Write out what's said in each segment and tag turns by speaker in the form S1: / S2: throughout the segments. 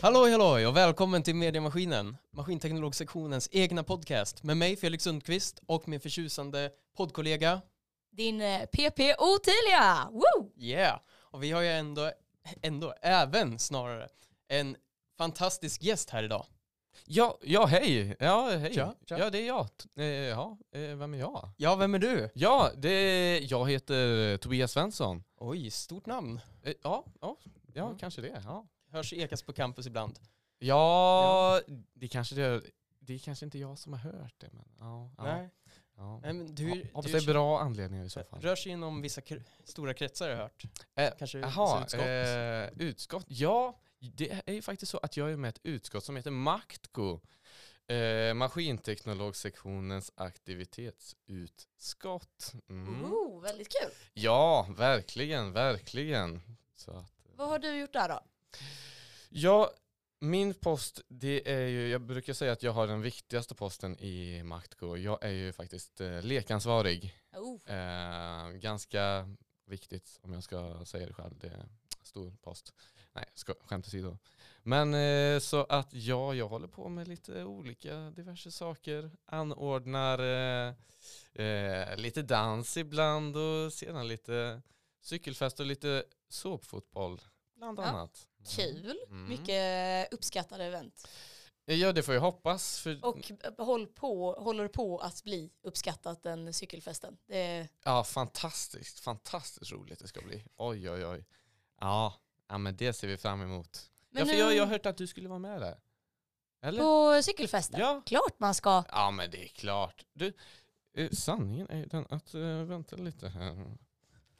S1: Halloj halloj och välkommen till Mediamaskinen, Maskinteknologsektionens egna podcast med mig Felix Sundqvist och min förtjusande poddkollega.
S2: Din eh, PP Ottilia! Woo!
S1: Yeah! Och vi har ju ändå, ändå, även snarare, en fantastisk gäst här idag.
S3: Ja, ja hej! Ja, hej.
S1: Tja, tja.
S3: Ja, det är jag. T- eh, Ja, eh, vem är jag?
S1: Ja, vem är du?
S3: Ja, det är, jag heter Tobias Svensson.
S1: Oj, stort namn.
S3: Eh, Ja, ja, ja
S1: Mm.
S3: kanske det. Ja,
S1: Hörs ekas på campus ibland.
S3: ja det kanske det är. Det är kanske inte jag som har hört det, men ja. ja,
S1: Nej,
S3: Ja.
S1: nej, men du,
S3: Hoppas
S1: du
S3: det är bra anledningar i så fall.
S1: rör sig inom vissa kr- stora kretsar har jag hört.
S3: Eh,
S1: Kanske
S3: Jaha,
S1: utskott.
S3: eh, utskott. Ja, det är ju faktiskt så att jag är med i ett utskott som heter Maktko. Eh, maskinteknologsektionens aktivitetsutskott. Mm.
S2: Woo, väldigt kul.
S3: Ja, verkligen, verkligen. Så att,
S2: Vad har du gjort där då?
S3: ja, min post, det är ju, jag brukar säga att jag har den viktigaste posten i Maktgo. Jag är ju faktiskt eh, lekansvarig.
S2: Oh,
S3: Eh, ganska viktigt om jag ska säga det själv. Det är stor post. Nej, ska, skämt åsido. Men eh, så att ja, jag håller på med lite olika diverse saker. Anordnar eh, eh, lite dans ibland och sedan lite cykelfest och lite såpfotboll bland
S2: Ja,
S3: annat.
S2: kul.
S3: Mm. Eh,
S2: Mycket uppskattade event.
S3: Ja, det får jag hoppas. För,
S2: Och eh, håll på, håller på att bli uppskattat den cykelfesten. Det,
S3: Ja, fantastiskt. Fantastiskt roligt det ska bli. Oj, oj, oj. Ja, ja men det ser vi fram emot.
S2: men
S3: ja, för
S2: nu
S3: jag, jag har hört att du skulle vara med där. Eller?
S2: på cykelfesten.
S3: Ja.
S2: Klart man ska.
S3: Ja, men det är klart. Du, eh, sanningen är ju den att, eh, vänta lite här.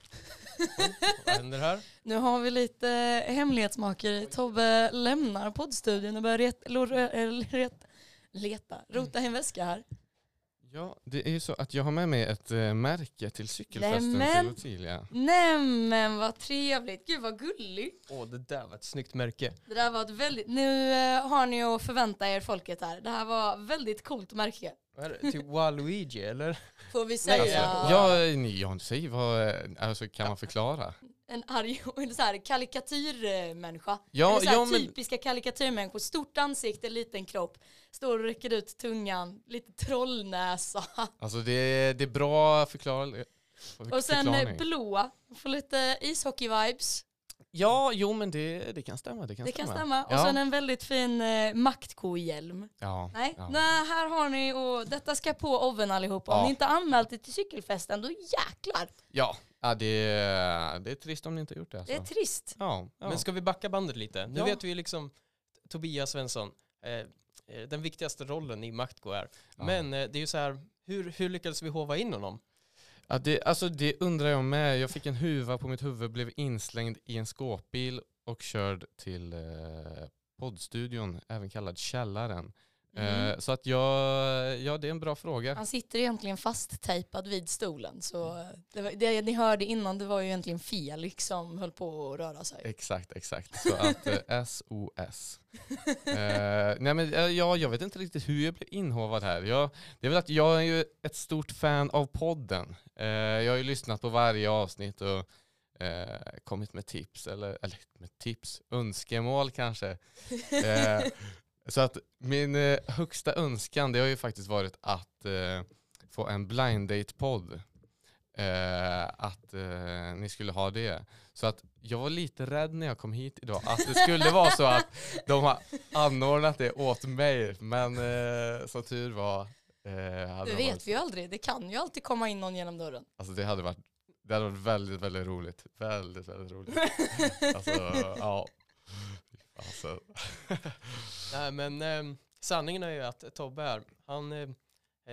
S3: eh,
S1: Vad händer här?
S2: Nu har vi lite hemlighetsmakeri. Tobbe lämnar poddstudion och börjar ret, lor, eh, ret, leta, rota
S3: Mm.
S2: i en väska här.
S3: Ja, det är ju så att jag har med mig ett eh, märke till cykelfesten
S2: Nämen.
S3: till Ottilia.
S2: Nämen vad trevligt. Gud vad gulligt.
S1: Åh, det där var ett snyggt märke.
S2: Det där var ett väldigt, nu eh, har ni att förvänta er folket här. Det här var väldigt coolt märke.
S1: Vad är det? Typ Waluigi eller?
S2: Får vi
S1: Nej,
S2: säga.
S3: Alltså, ja, ni- ja, säg vad, eh, alltså kan man förklara?
S2: En arg, en så här karikatyrmänniska.
S3: Ja,
S2: Eller så här typ-
S3: ja, men-
S2: typiska karikatyrmänniskor. Stort ansikte, liten kropp. Står och räcker ut tungan. Lite trollnäsa.
S3: Alltså det, är- det är bra förklar...
S2: Och sen eh,
S3: förklaring.
S2: blåa. Får lite ishockey-vibes.
S3: Ja, jo men det, det kan stämma. Det kan
S2: Det kan
S3: stämma.
S2: stämma. Och
S3: Ja.
S2: sen en väldigt fin eh, maktkohjälm.
S3: Ja.
S2: Nej,
S3: ja.
S2: nej, här har ni och detta ska på oven allihopa. Om
S3: Ja.
S2: ni inte har anmält er till cykelfesten, då jäklar.
S3: Ja, ja det, är- det är trist om ni inte har gjort det. Alltså.
S2: Det är trist.
S3: ja, ja.
S1: Men ska vi backa bandet lite? Nu
S3: Ja.
S1: vet vi ju liksom Tobias Svensson, eh, eh, den viktigaste rollen i Maktgo är.
S3: Ja.
S1: Men eh, det är ju så här, hur, hur lyckades vi hova in honom?
S3: ja, det, alltså, det undrar jag med. Jag fick en huva på mitt huvud, blev inslängd i en skåpbil och körd till eh, poddstudion, även kallad Källaren.
S2: Mm.
S3: Eh, så att jag, ja det är en bra fråga.
S2: Han sitter egentligen fasttejpad vid stolen. Så det, var, det ni hörde innan det var ju egentligen Felix som höll på att röra sig.
S3: Exakt, exakt. Så att eh, SOS. Eh, nej men, eh, ja, jag vet inte riktigt hur jag blev inhovad här. Jag, det är väl att jag är ju ett stort fan av podden. Eh, jag har ju lyssnat på varje avsnitt och eh, kommit med tips, eller, eller med tips, önskemål kanske. Eh, så att min eh, högsta önskan det har ju faktiskt varit att eh, få en blind date-podd. Eh, att eh, ni skulle ha det. Så att jag var lite rädd när jag kom hit idag att det skulle vara så att de har anordnat det åt mig, men eh, som tur var eh, hade
S2: Det
S3: de
S2: vet
S3: varit-
S2: vi ju aldrig. Det kan ju alltid komma in någon genom dörren.
S3: alltså det hade varit det hade varit väldigt, väldigt roligt. Väldigt, väldigt roligt. Alltså, ja. Alltså,
S1: Nej men eh, sanningen är ju att Tobbe här, han eh,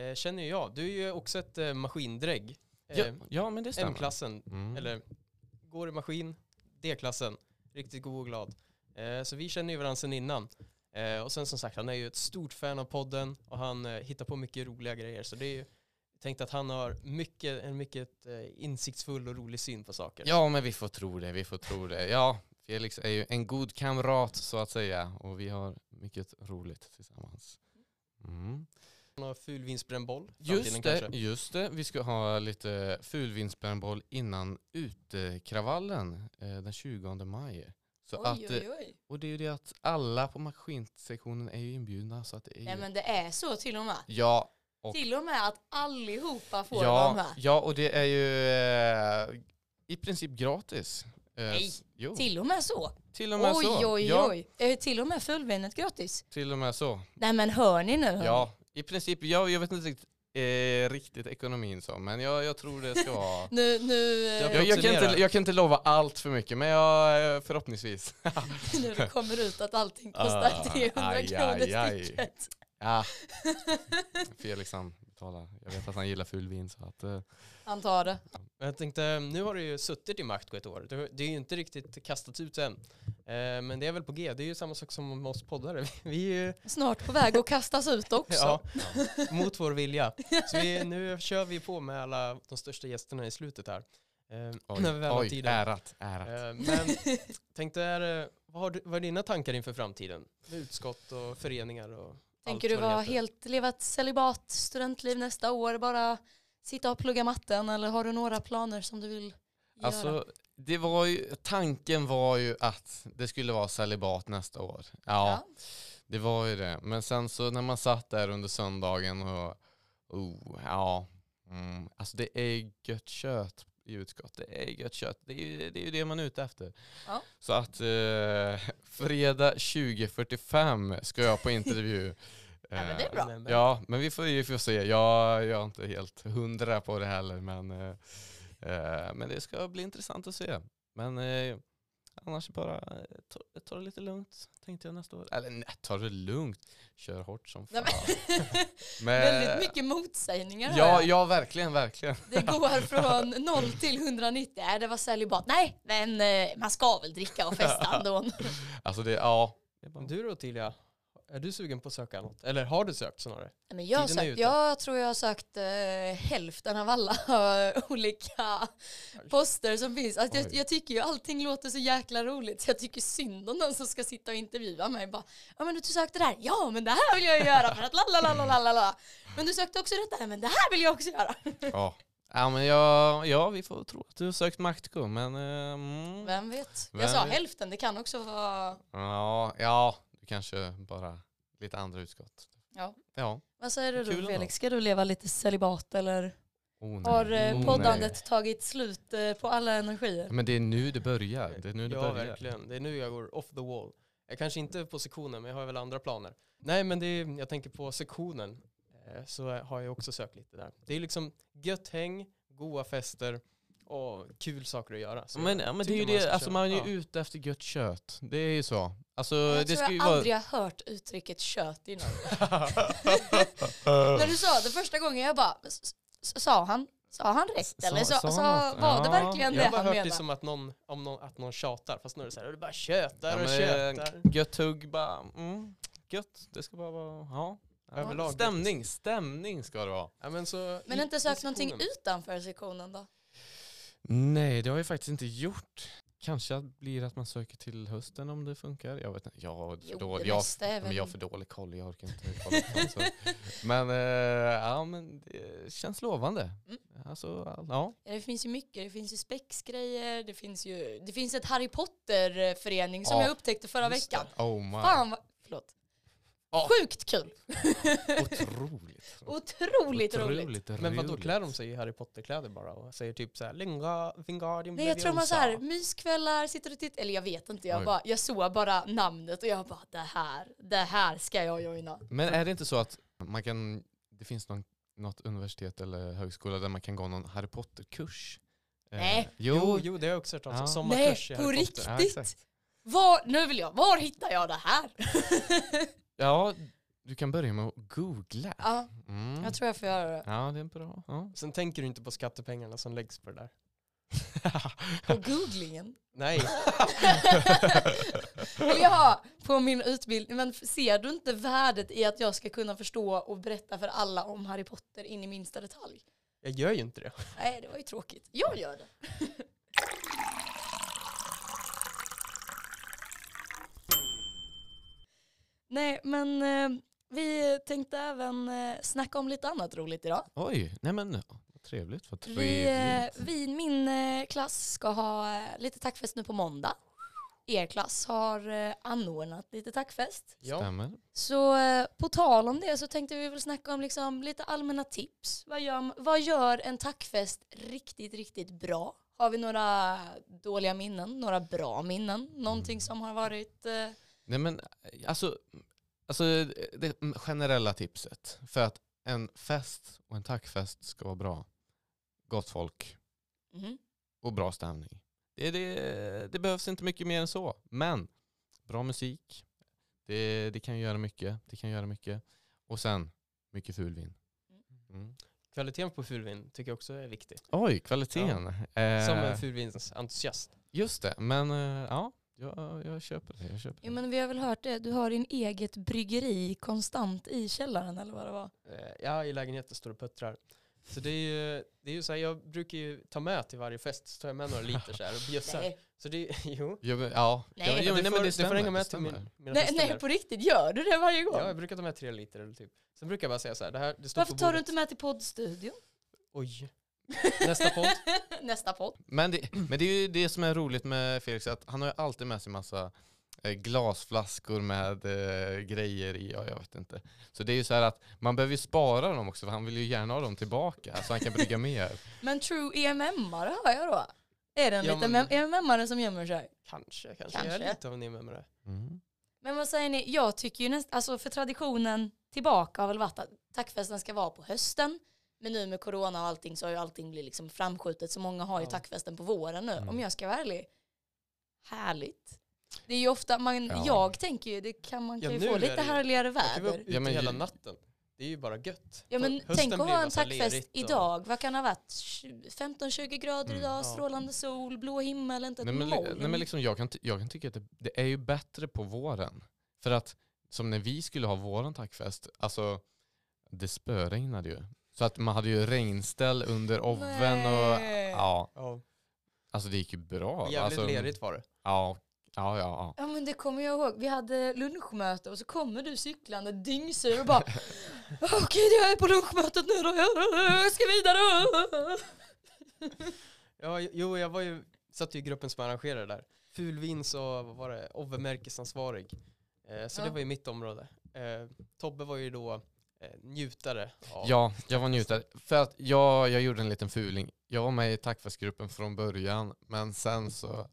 S1: eh, känner ju jag, du är ju också ett eh, maskindrägg.
S3: ja,
S1: Eh,
S3: ja, men det stämmer.
S1: M-klassen,
S3: Mm.
S1: eller går i maskin, D-klassen, riktigt god och glad. Eh, så vi känner ju varandra sedan innan. Eh, och sen som sagt, han är ju ett stort fan av podden och han eh, hittar på mycket roliga grejer. Så det är ju tänkt att han har mycket, en mycket eh, insiktsfull och rolig syn på saker.
S3: Ja, men vi får tro det, vi får tro det. Ja, Felix är ju en god kamrat så att säga och vi har mycket roligt tillsammans. Mm.
S1: Han har fulvinsbrännboll.
S3: Just
S1: framtiden
S3: det,
S1: kanske.
S3: just det, vi ska ha lite fulvinsbrännboll innan utekravallen eh, den 20 maj. Så att,
S2: Oj,
S3: eh,
S2: oj, oj.
S3: Och det är ju det att alla på maskinsektionen är ju inbjudna så att det är
S2: Nej
S3: ju...
S2: men det är så till och med.
S3: Ja, Och-
S2: Till och med att allihopa får vara
S3: ja,
S2: med.
S3: ja, och det är ju eh, i princip gratis. Eh,
S2: Nej,
S3: s- jo, till,
S2: Till och med så.
S3: och med
S2: Oj,
S3: så.
S2: oj,
S3: Ja,
S2: oj. Är till och med fullvinet gratis?
S3: till och med så.
S2: Nej men hör ni nu? hörni?
S3: Ja, i princip, jag, jag vet inte riktigt, eh, riktigt ekonomin så, men jag, jag tror det ska vara...
S2: Nu, nu, eh,
S3: Jag, jag, kan inte, jag kan inte lova allt för mycket, men jag, eh, förhoppningsvis.
S2: nu det kommer ut att allting
S3: Ah,
S2: kostar 300
S3: aj,
S2: kronor
S3: aj, aj.
S2: stycket.
S3: Ja. Felix han betalar. Jag vet att han gillar ful vin så att... eh,
S2: Han tar det.
S1: Men jag tänkte, eh, nu har du ju suttit i makt på ett år. Du- Det är ju inte riktigt kastat ut än. Eh, Men det är väl på G. Det är ju samma sak som med oss poddare. Vi är ju
S2: Snart på väg att kastas ut också.
S1: ja, mot vår vilja. Så vi, nu kör vi på med alla de största gästerna i slutet här. Eh,
S3: Oj,
S1: när vi väl har
S3: oj
S1: tiden.
S3: ärat, ärat.
S1: Eh, Men tänkte, är, eh, vad, har du, vad är dina tankar inför framtiden? Med utskott och föreningar och
S2: Tänker
S1: allt
S2: du
S1: vad det
S2: vara
S1: heter.
S2: helt, leva ett celibat studentliv nästa år? Bara sitta och plugga matten eller har du några planer som du vill göra?
S3: Alltså, det var ju, tanken var ju att det skulle vara celibat nästa år. Ja,
S2: Ja.
S3: det var ju det. Men sen så när man satt där under söndagen och, oh, ja, mm, alltså det är gött kött i utskott. Det är gött kött. Det är ju det, är ju det man är ute efter.
S2: Ja.
S3: Så att eh, fredag 20.45 ska jag på intervju.
S2: Ja, men det är
S3: Eh,
S2: Bra.
S1: Men- men-
S3: Ja, men vi får, vi får se. Jag, jag är inte helt hundra på det heller, men, eh, eh, men det ska bli intressant att se. Men eh, annars bara eh, ta, ta det lite lugnt, tänkte jag nästa år. Eller nej, ta det lugnt. Kör hårt som
S2: Nej,
S3: fan.
S2: men,
S1: Eh,
S3: Men-
S2: väldigt mycket motsägningar hör
S3: Ja,
S2: jag.
S3: ja, verkligen, verkligen.
S2: Det går från 0 till 190. Nej, det var celibat. Nej, men eh, man ska väl dricka och festa ändå.
S3: Alltså det, ja.
S1: Du då Tilja, är du sugen på att söka något? Eller har du sökt snarare?
S2: Nej, Men jag, har
S1: Tiden är
S2: sökt,
S1: ute.
S2: jag tror jag har sökt eh, hälften av alla eh, olika poster som finns. Alltså, jag,
S3: Oj.
S2: jag tycker ju allting låter så jäkla roligt så jag tycker synd om någon som ska sitta och intervjua mig. Bara, ja men du sökte det här, ja men det här vill jag göra för att lalalalalala. Men du sökte också detta, men det här vill jag också
S3: Mm.
S2: göra.
S3: Ja, ja men jag, ja, vi får tro att du har sökt Maktko, men... eh, mm.
S2: Vem vet?
S3: Vem
S2: jag sa
S3: vet?
S2: hälften, det kan också vara...
S3: Ja, ja, du kanske bara lite andra utskott.
S2: Ja.
S3: Ja.
S2: Vad säger du
S3: Kul
S2: då
S3: ändå.
S2: Felix, ska du leva lite celibat eller
S3: Oh, nej.
S2: har eh,
S3: Oh,
S2: poddandet
S3: nej.
S2: tagit slut eh, på alla energier?
S3: Men det är nu det börjar. Det är nu det
S1: ja,
S3: börjar.
S1: verkligen. Det är nu jag går off the wall. Jag kanske inte på sektionen, men jag har väl andra planer. Nej, men det är, jag tänker på sektionen. eh, Så har jag också sökt lite där. Det är liksom gött häng, goa fester och kul saker att göra. Så
S3: Men,
S1: jag
S3: ja, men det
S1: tycker
S3: är ju
S1: man
S3: det,
S1: ska
S3: alltså
S1: köra.
S3: man är ju
S1: Ja.
S3: ute efter gött kött. Det är ju så. Alltså,
S2: Jag
S3: det
S2: tror
S3: ska
S2: jag
S3: ju
S2: aldrig har hört uttrycket kött innan. När
S3: vara...
S2: du sa det första gången, jag bara, s- s- sa han, sa han rätt
S3: Sa-
S2: eller sa,
S3: sa
S2: sa,
S3: han något?
S2: var det
S3: Ja,
S2: verkligen
S1: Jag
S2: det
S1: har bara
S2: han
S1: hört
S2: menade?
S1: det som att någon, om någon, att någon tjatar, fast nu är det så här, "Är det bara tjötar
S3: Ja,
S1: och
S3: men, eh,
S1: tjötar.
S3: gött hugg bara. Mm, gött. Det ska bara vara... Ja.
S1: Överlag gött.
S3: stämning, stämning ska det vara.
S1: Ja, men så
S2: Men
S1: i-
S2: inte
S1: i
S2: sökt någonting
S1: sektionen.
S2: utanför sektionen då?
S3: Nej, det har jag faktiskt inte gjort. Kanske att blir att man söker till hösten om det funkar. Jag vet inte. Jag har för
S2: Jo,
S3: dålig,
S2: det
S3: jag,
S2: mesta är
S3: men jag har
S2: väl...
S3: för dålig koll. Jag orkar inte kolla på allt. så. Men, eh, ja, men det känns lovande.
S2: Mm.
S3: Alltså, ja.
S2: Ja, Det finns ju mycket, det finns ju spexgrejer, det finns ju, det finns ett Harry Potter-förening som
S3: Ja,
S2: jag upptäckte förra
S1: just
S2: veckan.
S3: Oh my.
S2: Fan vad, förlåt.
S3: Ja.
S2: Sjukt kul!
S3: Otroligt.
S2: Otroligt, roligt.
S1: Men vadå,
S3: roligt.
S1: klär de sig i Harry Potter-kläder bara och säger typ så här, "Linga- Wingardium
S2: Nej jag tror man
S1: Leviosa."
S2: såhär, myskvällar, sitter och tittar, eller jag vet inte, jag,
S3: Oj.
S2: bara, jag såg bara namnet och jag bara det här, det här ska jag joina.
S3: Men är det inte så att man kan, det finns någon, något universitet eller högskola där man kan gå någon Harry Potter-kurs? Eh,
S2: Nej.
S1: Jo,
S3: Jo,
S1: jo, det har jag också hört talas om.
S3: Ja.
S1: Sommarkurs i
S2: Nej,
S1: Harry
S2: på
S1: Potter.
S2: riktigt.
S3: Ja, exakt.
S2: Var, nu vill jag, var hittar jag det här?
S3: ja, du kan börja med att googla.
S2: ja,
S3: Mm.
S2: jag tror jag får göra det.
S3: Ja, det är bra. Ja.
S1: Sen tänker du inte på skattepengarna som läggs på det där.
S2: På googlingen.
S1: Nej,
S2: Eller ja, på min utbildning. Men ser du inte värdet i att jag ska kunna förstå och berätta för alla om Harry Potter in i minsta detalj?
S1: jag gör ju inte det.
S2: Nej, det var ju tråkigt. Jag gör det. Nej, men eh, vi tänkte även eh, snacka om lite annat roligt idag.
S3: Oj, nej men vad trevligt. Vad
S2: Vi, eh,
S3: trevligt.
S2: vi, min eh, klass ska ha eh, lite tackfest nu på måndag. er klass har eh, anordnat lite tackfest.
S1: Ja.
S3: Stämmer.
S2: Så eh, på tal om det så tänkte vi väl snacka om liksom lite allmänna tips. Vad gör, vad gör en tackfest riktigt, riktigt bra? Har vi några dåliga minnen, några bra minnen, någonting
S3: Mm.
S2: som har varit... Eh,
S3: Nej men alltså, alltså det generella tipset för att en fest och en tackfest ska vara bra. Gott folk
S2: mhm.
S3: och bra stämning. Det, det, det behövs inte mycket mer än så. Men bra musik, det, det kan göra mycket. Det kan göra mycket. Och sen, mycket fulvin. Mm.
S1: Kvaliteten på fulvin tycker jag också är viktig.
S3: Oj, kvaliteten. Eh,
S1: Som en fulvinsentusiast.
S3: just det, men eh, ja, jag, jag köper det. Jag köper
S2: Jo
S3: det.
S2: men vi har väl hört det, du har din eget bryggeri konstant i källaren eller vad det var.
S1: Eh, Ja, i lägenheten står och puttrar. Så det är ju, det är ju så här, jag brukar ju ta med till varje fest, så tar jag med några liter så här och bjössar.
S2: Nej,
S1: Så det är, jo.
S3: Jo, men, ja,
S2: Nej,
S3: ja,
S2: det
S3: jo,
S1: du
S3: men,
S1: får,
S3: nej, men det
S1: du
S3: stämmer.
S1: får hänga
S3: det
S1: med till
S3: stämmer.
S1: min, mina
S2: nej,
S1: fester
S2: nej
S1: där.
S2: på riktigt, gör du det varje gång?
S1: Ja, jag brukar ta med tre liter eller typ. Sen brukar jag bara säga så här, det här, det står
S2: Varför
S1: på
S2: tar du
S1: bordet.
S2: inte med till poddstudion?
S1: Oj. Nästa podd.
S2: Nästa podd.
S3: Men det, men det är ju det som är roligt med Felix, att han har ju alltid med sig massa eh, glasflaskor med eh, grejer i, ja, jag vet inte. Så det är ju så här att man behöver ju spara dem också, för han vill ju gärna ha dem tillbaka, så han kan brygga mer.
S2: Men true E EMM-are hör jag då. Är det en
S1: Ja,
S2: liten
S1: men-
S2: EMM-are som gömmer sig?
S1: Kanske, kanske. Jag
S2: Kanske.
S1: är lite av en MMR.
S3: Mm.
S2: Men vad säger ni? Jag tycker ju nästan, alltså för traditionen tillbaka har väl varit att tackfesten ska vara på hösten. Men nu med corona och allting så har ju allting blivit liksom framskjutet. Så många har ju
S1: Ja.
S2: tackfesten på våren nu,
S3: Mm.
S2: om jag ska vara ärlig. Härligt. Det är ju ofta, man,
S3: Ja.
S2: jag tänker ju, det kan, man
S1: Ja,
S2: kan ju
S1: nu
S2: få
S1: är det
S2: lite
S1: ju-
S2: härligare
S1: Jag kan vara
S2: väder.
S1: ute
S3: Ja, men
S1: hela
S3: ju-
S1: natten. Det är ju bara gött.
S2: Ja men
S1: Hösten
S2: tänk
S1: blir
S2: att ha
S1: bara
S2: en
S1: så här
S2: tackfest
S1: lerigt och-
S2: idag. Vad kan det ha varit? 15-20 grader
S3: Mm.
S2: idag,
S1: Ja.
S2: strålande sol, blå himmel, inte ett
S3: Nej, men, li-
S2: moln.
S3: nej, men liksom, jag, kan ty- jag kan tycka att det, det är ju bättre på våren. För att som när vi skulle ha våran tackfest, alltså det spöregnade ju. Så att man hade ju regnställ under oven och
S2: Nej.
S3: ja,
S1: Ja,
S3: alltså det gick ju bra.
S1: jävligt
S3: alltså,
S1: lerigt var det.
S3: Ja, ja, ja. ja.
S2: Ja men det kommer jag ihåg. Vi hade lunchmöte och så kommer du cyklande dyngsur och bara Åh gud jag är på lunchmötet nu då, jag ska vidare.
S1: Ja, jo, jag var ju, satt ju i gruppen som arrangerade där. Fulvins och vad var det, Ovve-märkesansvarig. Eh, så
S2: Ja.
S1: det var ju mitt område. Eh, Tobbe var ju då eh, njutare av...
S3: Ja, jag var njutare. För att jag, jag gjorde en liten fuling. Jag var med i tackfestgruppen från början, men sen så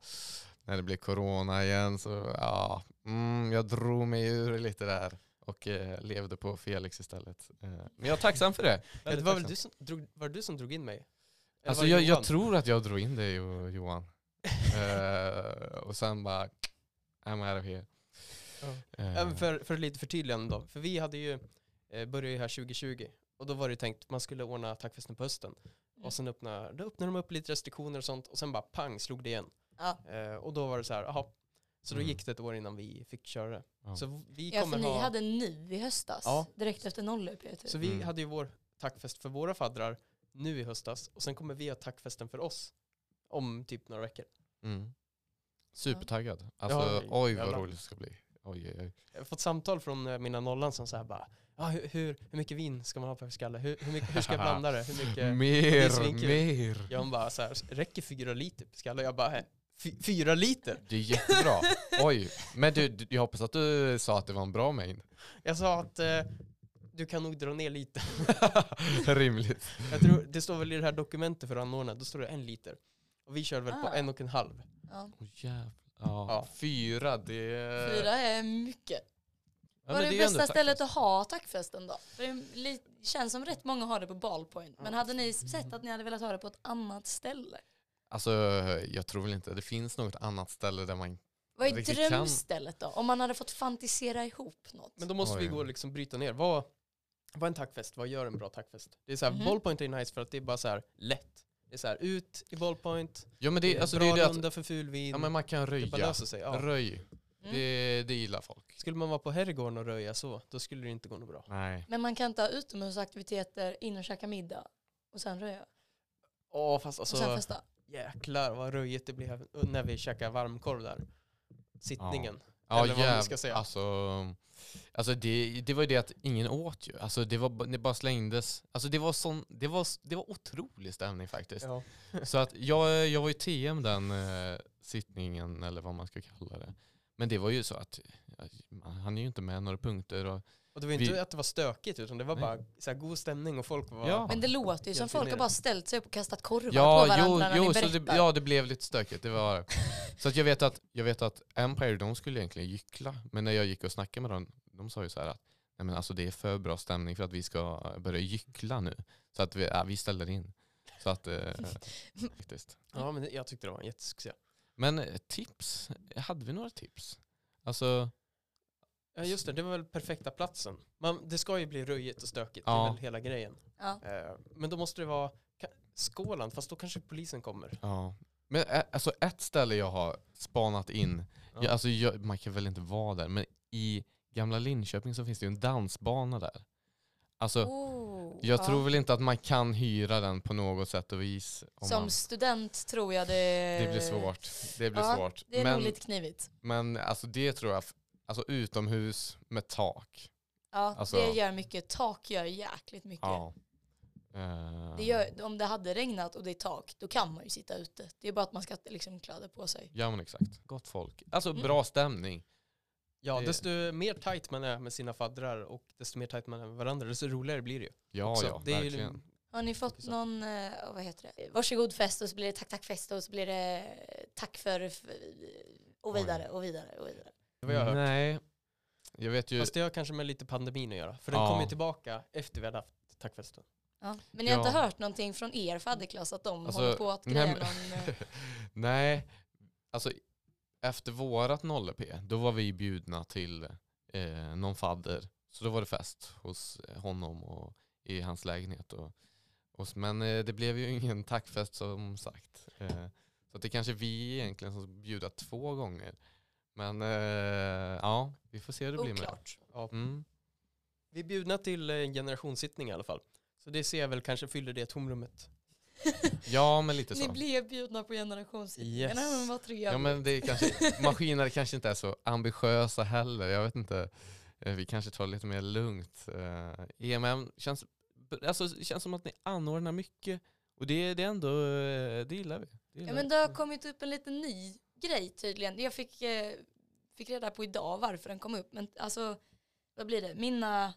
S3: när det blev corona igen så ja, mm, jag drog mig ur lite där och eh, levde på Felix istället. Eh, men jag är tacksam för det.
S1: Eller, det
S3: väldigt
S1: var väl
S3: tacksam.
S1: du som drog, var det du som drog in mig? Eller
S3: Alltså
S1: var det
S3: jag, jag
S1: Johan?
S3: tror att jag drog in dig Jo- Johan. Eh, och sen bara, I'm out of here. Eh,
S1: Även för, för lite förtydligande då. För vi hade ju, eh, började ju här 2020. Och då var det ju tänkt att man skulle ordna tackfesten på hösten.
S2: Mm.
S1: Och sen öppnade, då öppnade de upp lite restriktioner och sånt. Och sen bara pang slog det igen.
S2: Ja.
S1: Eh, och då var det så här, jaha. Så då
S3: Mm.
S1: gick det ett år innan vi fick köra det.
S3: Ja.
S1: Så vi
S2: Ja
S1: kommer
S2: för ni
S1: ha...
S2: hade nu i höstas,
S1: Ja.
S2: direkt efter nollup
S1: Så
S2: typ.
S1: vi
S3: Mm.
S1: hade ju vår tackfest för våra faddrar nu i höstas och sen kommer vi ha tackfesten för oss om typ några veckor.
S3: mm. Supertaggad. Alltså
S1: Ja,
S3: oj vad
S1: jävlar.
S3: roligt det ska bli. Oj, oj, oj.
S1: Jag har fått samtal från eh, mina nollan som så här bara, ah, hur, hur, hur mycket vin ska man ha per skalle? Hur, hur, mycket, hur ska jag blanda det? Hur mycket?
S3: Mm.
S1: är
S3: Mer,
S1: svinkul.
S3: mer.
S1: Jag bara så här, räcker fyra liter per skalle? Jag bara, "Hä? Fy, fyra liter?
S3: Det är jättebra. Oj, men du, du, jag hoppas att du sa att det var en bra mängd.
S1: Jag sa att eh, du kan nog dra ner lite.
S3: Rimligt.
S1: Jag tror, det står väl i det här dokumentet för anordnaren, då står det en liter. Och vi körde väl på
S2: Ah.
S1: en och en halv.
S2: Ja.
S3: Oh, jävlar. Ja.
S1: Ja.
S3: Fyra, det...
S2: Fyra är mycket.
S3: Eh. Ja, men
S2: Var det,
S3: är ju ändå
S2: bästa stället
S3: tack.
S2: att ha tackfesten då? För det är li- känns som rätt många har det på Ballpoint. Men hade ni sett att ni hade velat ha det på ett annat ställe?
S3: Alltså, jag tror väl inte det finns något annat ställe där man...
S2: Vad är
S3: Riktigt kan.
S2: drömstället då? Om man hade fått fantisera ihop något.
S1: Men då måste vi
S3: Oj.
S1: gå och liksom bryta ner. Vad, vad är en tackfest? Vad gör en bra tackfest? Det är så här,
S2: Mhm.
S1: ballpoint är nice för att det är bara så här lätt. Det är så här, ut i ballpoint,
S3: Ja, men det, alltså,
S1: bra
S3: det är ju det att
S1: runda för fulvin.
S3: ja, men man kan
S1: det bara
S3: röja.
S1: löser sig. Ja.
S3: Röj, det, det gillar folk.
S1: Skulle man vara på herrgården och röja så, då skulle det inte gå något bra.
S3: Nej.
S2: Men man kan inte ha utomhusaktiviteter, in och käka middag och sen röja
S1: Åh, fast
S2: och sen
S1: alltså
S2: festa.
S1: jäklar vad röjigt det blir här när vi käkar varmkorv där. Sittningen.
S3: Ja,
S1: Eller vad man
S3: jäv,
S1: ska säga.
S3: Alltså, alltså det, det var ju det att ingen åt ju. Alltså det, var, ba- det bara slängdes. Alltså det var, sån, det, var, det var otrolig stämning faktiskt.
S1: Ja.
S3: Så att jag, jag var ju TM den eh, sittningen eller vad man ska kalla det. Men det var ju så att ja, man- han är ju inte med några punkter. Och,
S1: Och det var inte
S3: Vi-
S1: att det var stökigt utan det var
S3: Nej.
S1: bara så här, god stämning och folk var...
S3: Ja.
S2: Men det låter ju som
S1: Helt
S2: folk har
S1: enig.
S2: bara ställt sig upp och kastat korvar på
S3: ja,
S2: varandra
S3: jo,
S2: när
S3: jo
S2: ni
S3: så
S2: berättar.
S3: det, ja, det blev lite stökigt. Det var det. Så att jag, vet att, jag vet att Empire, de skulle egentligen gyckla. Men när jag gick och snackade med dem, de sa ju så här att Nej, men alltså, det är för bra stämning för att vi ska börja gyckla nu. Så att vi, ja, vi ställer in. Så att, eh, faktiskt.
S1: ja, men jag tyckte det var en jättesuccé.
S3: Men eh, tips? Hade vi några tips? Alltså,
S1: Ja just det, det var väl perfekta platsen. Man, det ska ju bli röjigt och stökigt, det
S3: Ja.
S1: är väl hela grejen.
S2: Ja.
S1: Eh, men då måste det vara ka- Skåland, fast då kanske polisen kommer.
S3: ja. Men eh, alltså ett ställe jag har spanat in,
S1: Mm. Ja.
S3: jag, alltså jag, man kan väl inte vara där, men i gamla Linköping så finns det ju en dansbana där. Alltså,
S2: Oh,
S3: jag
S2: ja.
S3: tror väl inte att man kan hyra den på något sätt och vis. Om
S2: Som
S3: man,
S2: student tror jag det...
S3: det blir svårt. Det blir
S2: Ja,
S3: svårt.
S2: Det är
S3: men
S2: nog lite knivigt.
S3: men alltså det tror jag, f- alltså utomhus med tak.
S2: Ja,
S3: Alltså-
S2: det gör mycket. Tak gör jäkligt mycket.
S3: Ja. Eh,
S2: Det gör, om det hade regnat och det är tak, då kan man ju sitta ute. Det är bara att man ska liksom kläda på sig.
S3: Ja men exakt. Gott folk. Alltså
S2: Mm.
S3: bra stämning.
S1: Ja,
S3: Det-
S1: desto mer tight man är med sina faddrar och desto mer tight man är med varandra, desto roligare blir det ju.
S3: Ja,
S1: också.
S3: ja,
S1: det är
S3: verkligen.
S1: ju
S2: Har ni fått
S1: Exakt.
S2: någon, eh, vad heter det, varsågod fest och så blir det tack tack fest och så blir det eh, tack för f- och
S3: Oj.
S2: vidare och vidare och vidare.
S1: det var jag hört.
S3: Nej, jag vet ju.
S1: Fast det har kanske med lite pandemin att göra, för den
S3: Ja.
S1: kommer ju tillbaka efter vi hade haft tackfesten.
S2: Ja. Men ni har inte
S3: Ja.
S2: hört någonting från er fadderklass att de
S3: Alltså,
S2: håller på att
S3: nej,
S2: greja
S3: men-
S2: någon... eh,
S3: Nej, alltså efter vårat 0P, då var vi bjudna till eh, någon fadder. Så då var det fest hos eh, honom och i hans lägenhet. Och, och, s- men eh, det blev ju ingen tackfest som sagt. Eh, så att det kanske vi egentligen som ska bjuda två gånger. Men eh, ja, vi får se hur det blir med
S2: Oklart.
S1: Ja.
S3: det. Mm.
S1: Vi är bjudna till eh, en generationssittning i alla fall. Så det ser jag väl kanske fyller det tomrummet.
S3: Ja, men lite
S2: Ni
S3: så.
S2: blev bjudna på generationsgivningarna,
S1: Yes.
S2: men vad trevligt.
S3: Ja, men det är kanske, maskiner kanske inte är så ambitiösa heller. Jag vet inte. Eh, Vi kanske tar det lite mer lugnt. Eh, EMM känns, alltså, det känns som att ni anordnar mycket. Och det, det är ändå, eh, det gillar vi. Det gillar
S2: Ja men
S3: vi.
S2: det har kommit upp en liten ny grej tydligen. Jag fick, eh, fick reda på idag varför den kom upp. Men alltså, vad blir det? Mina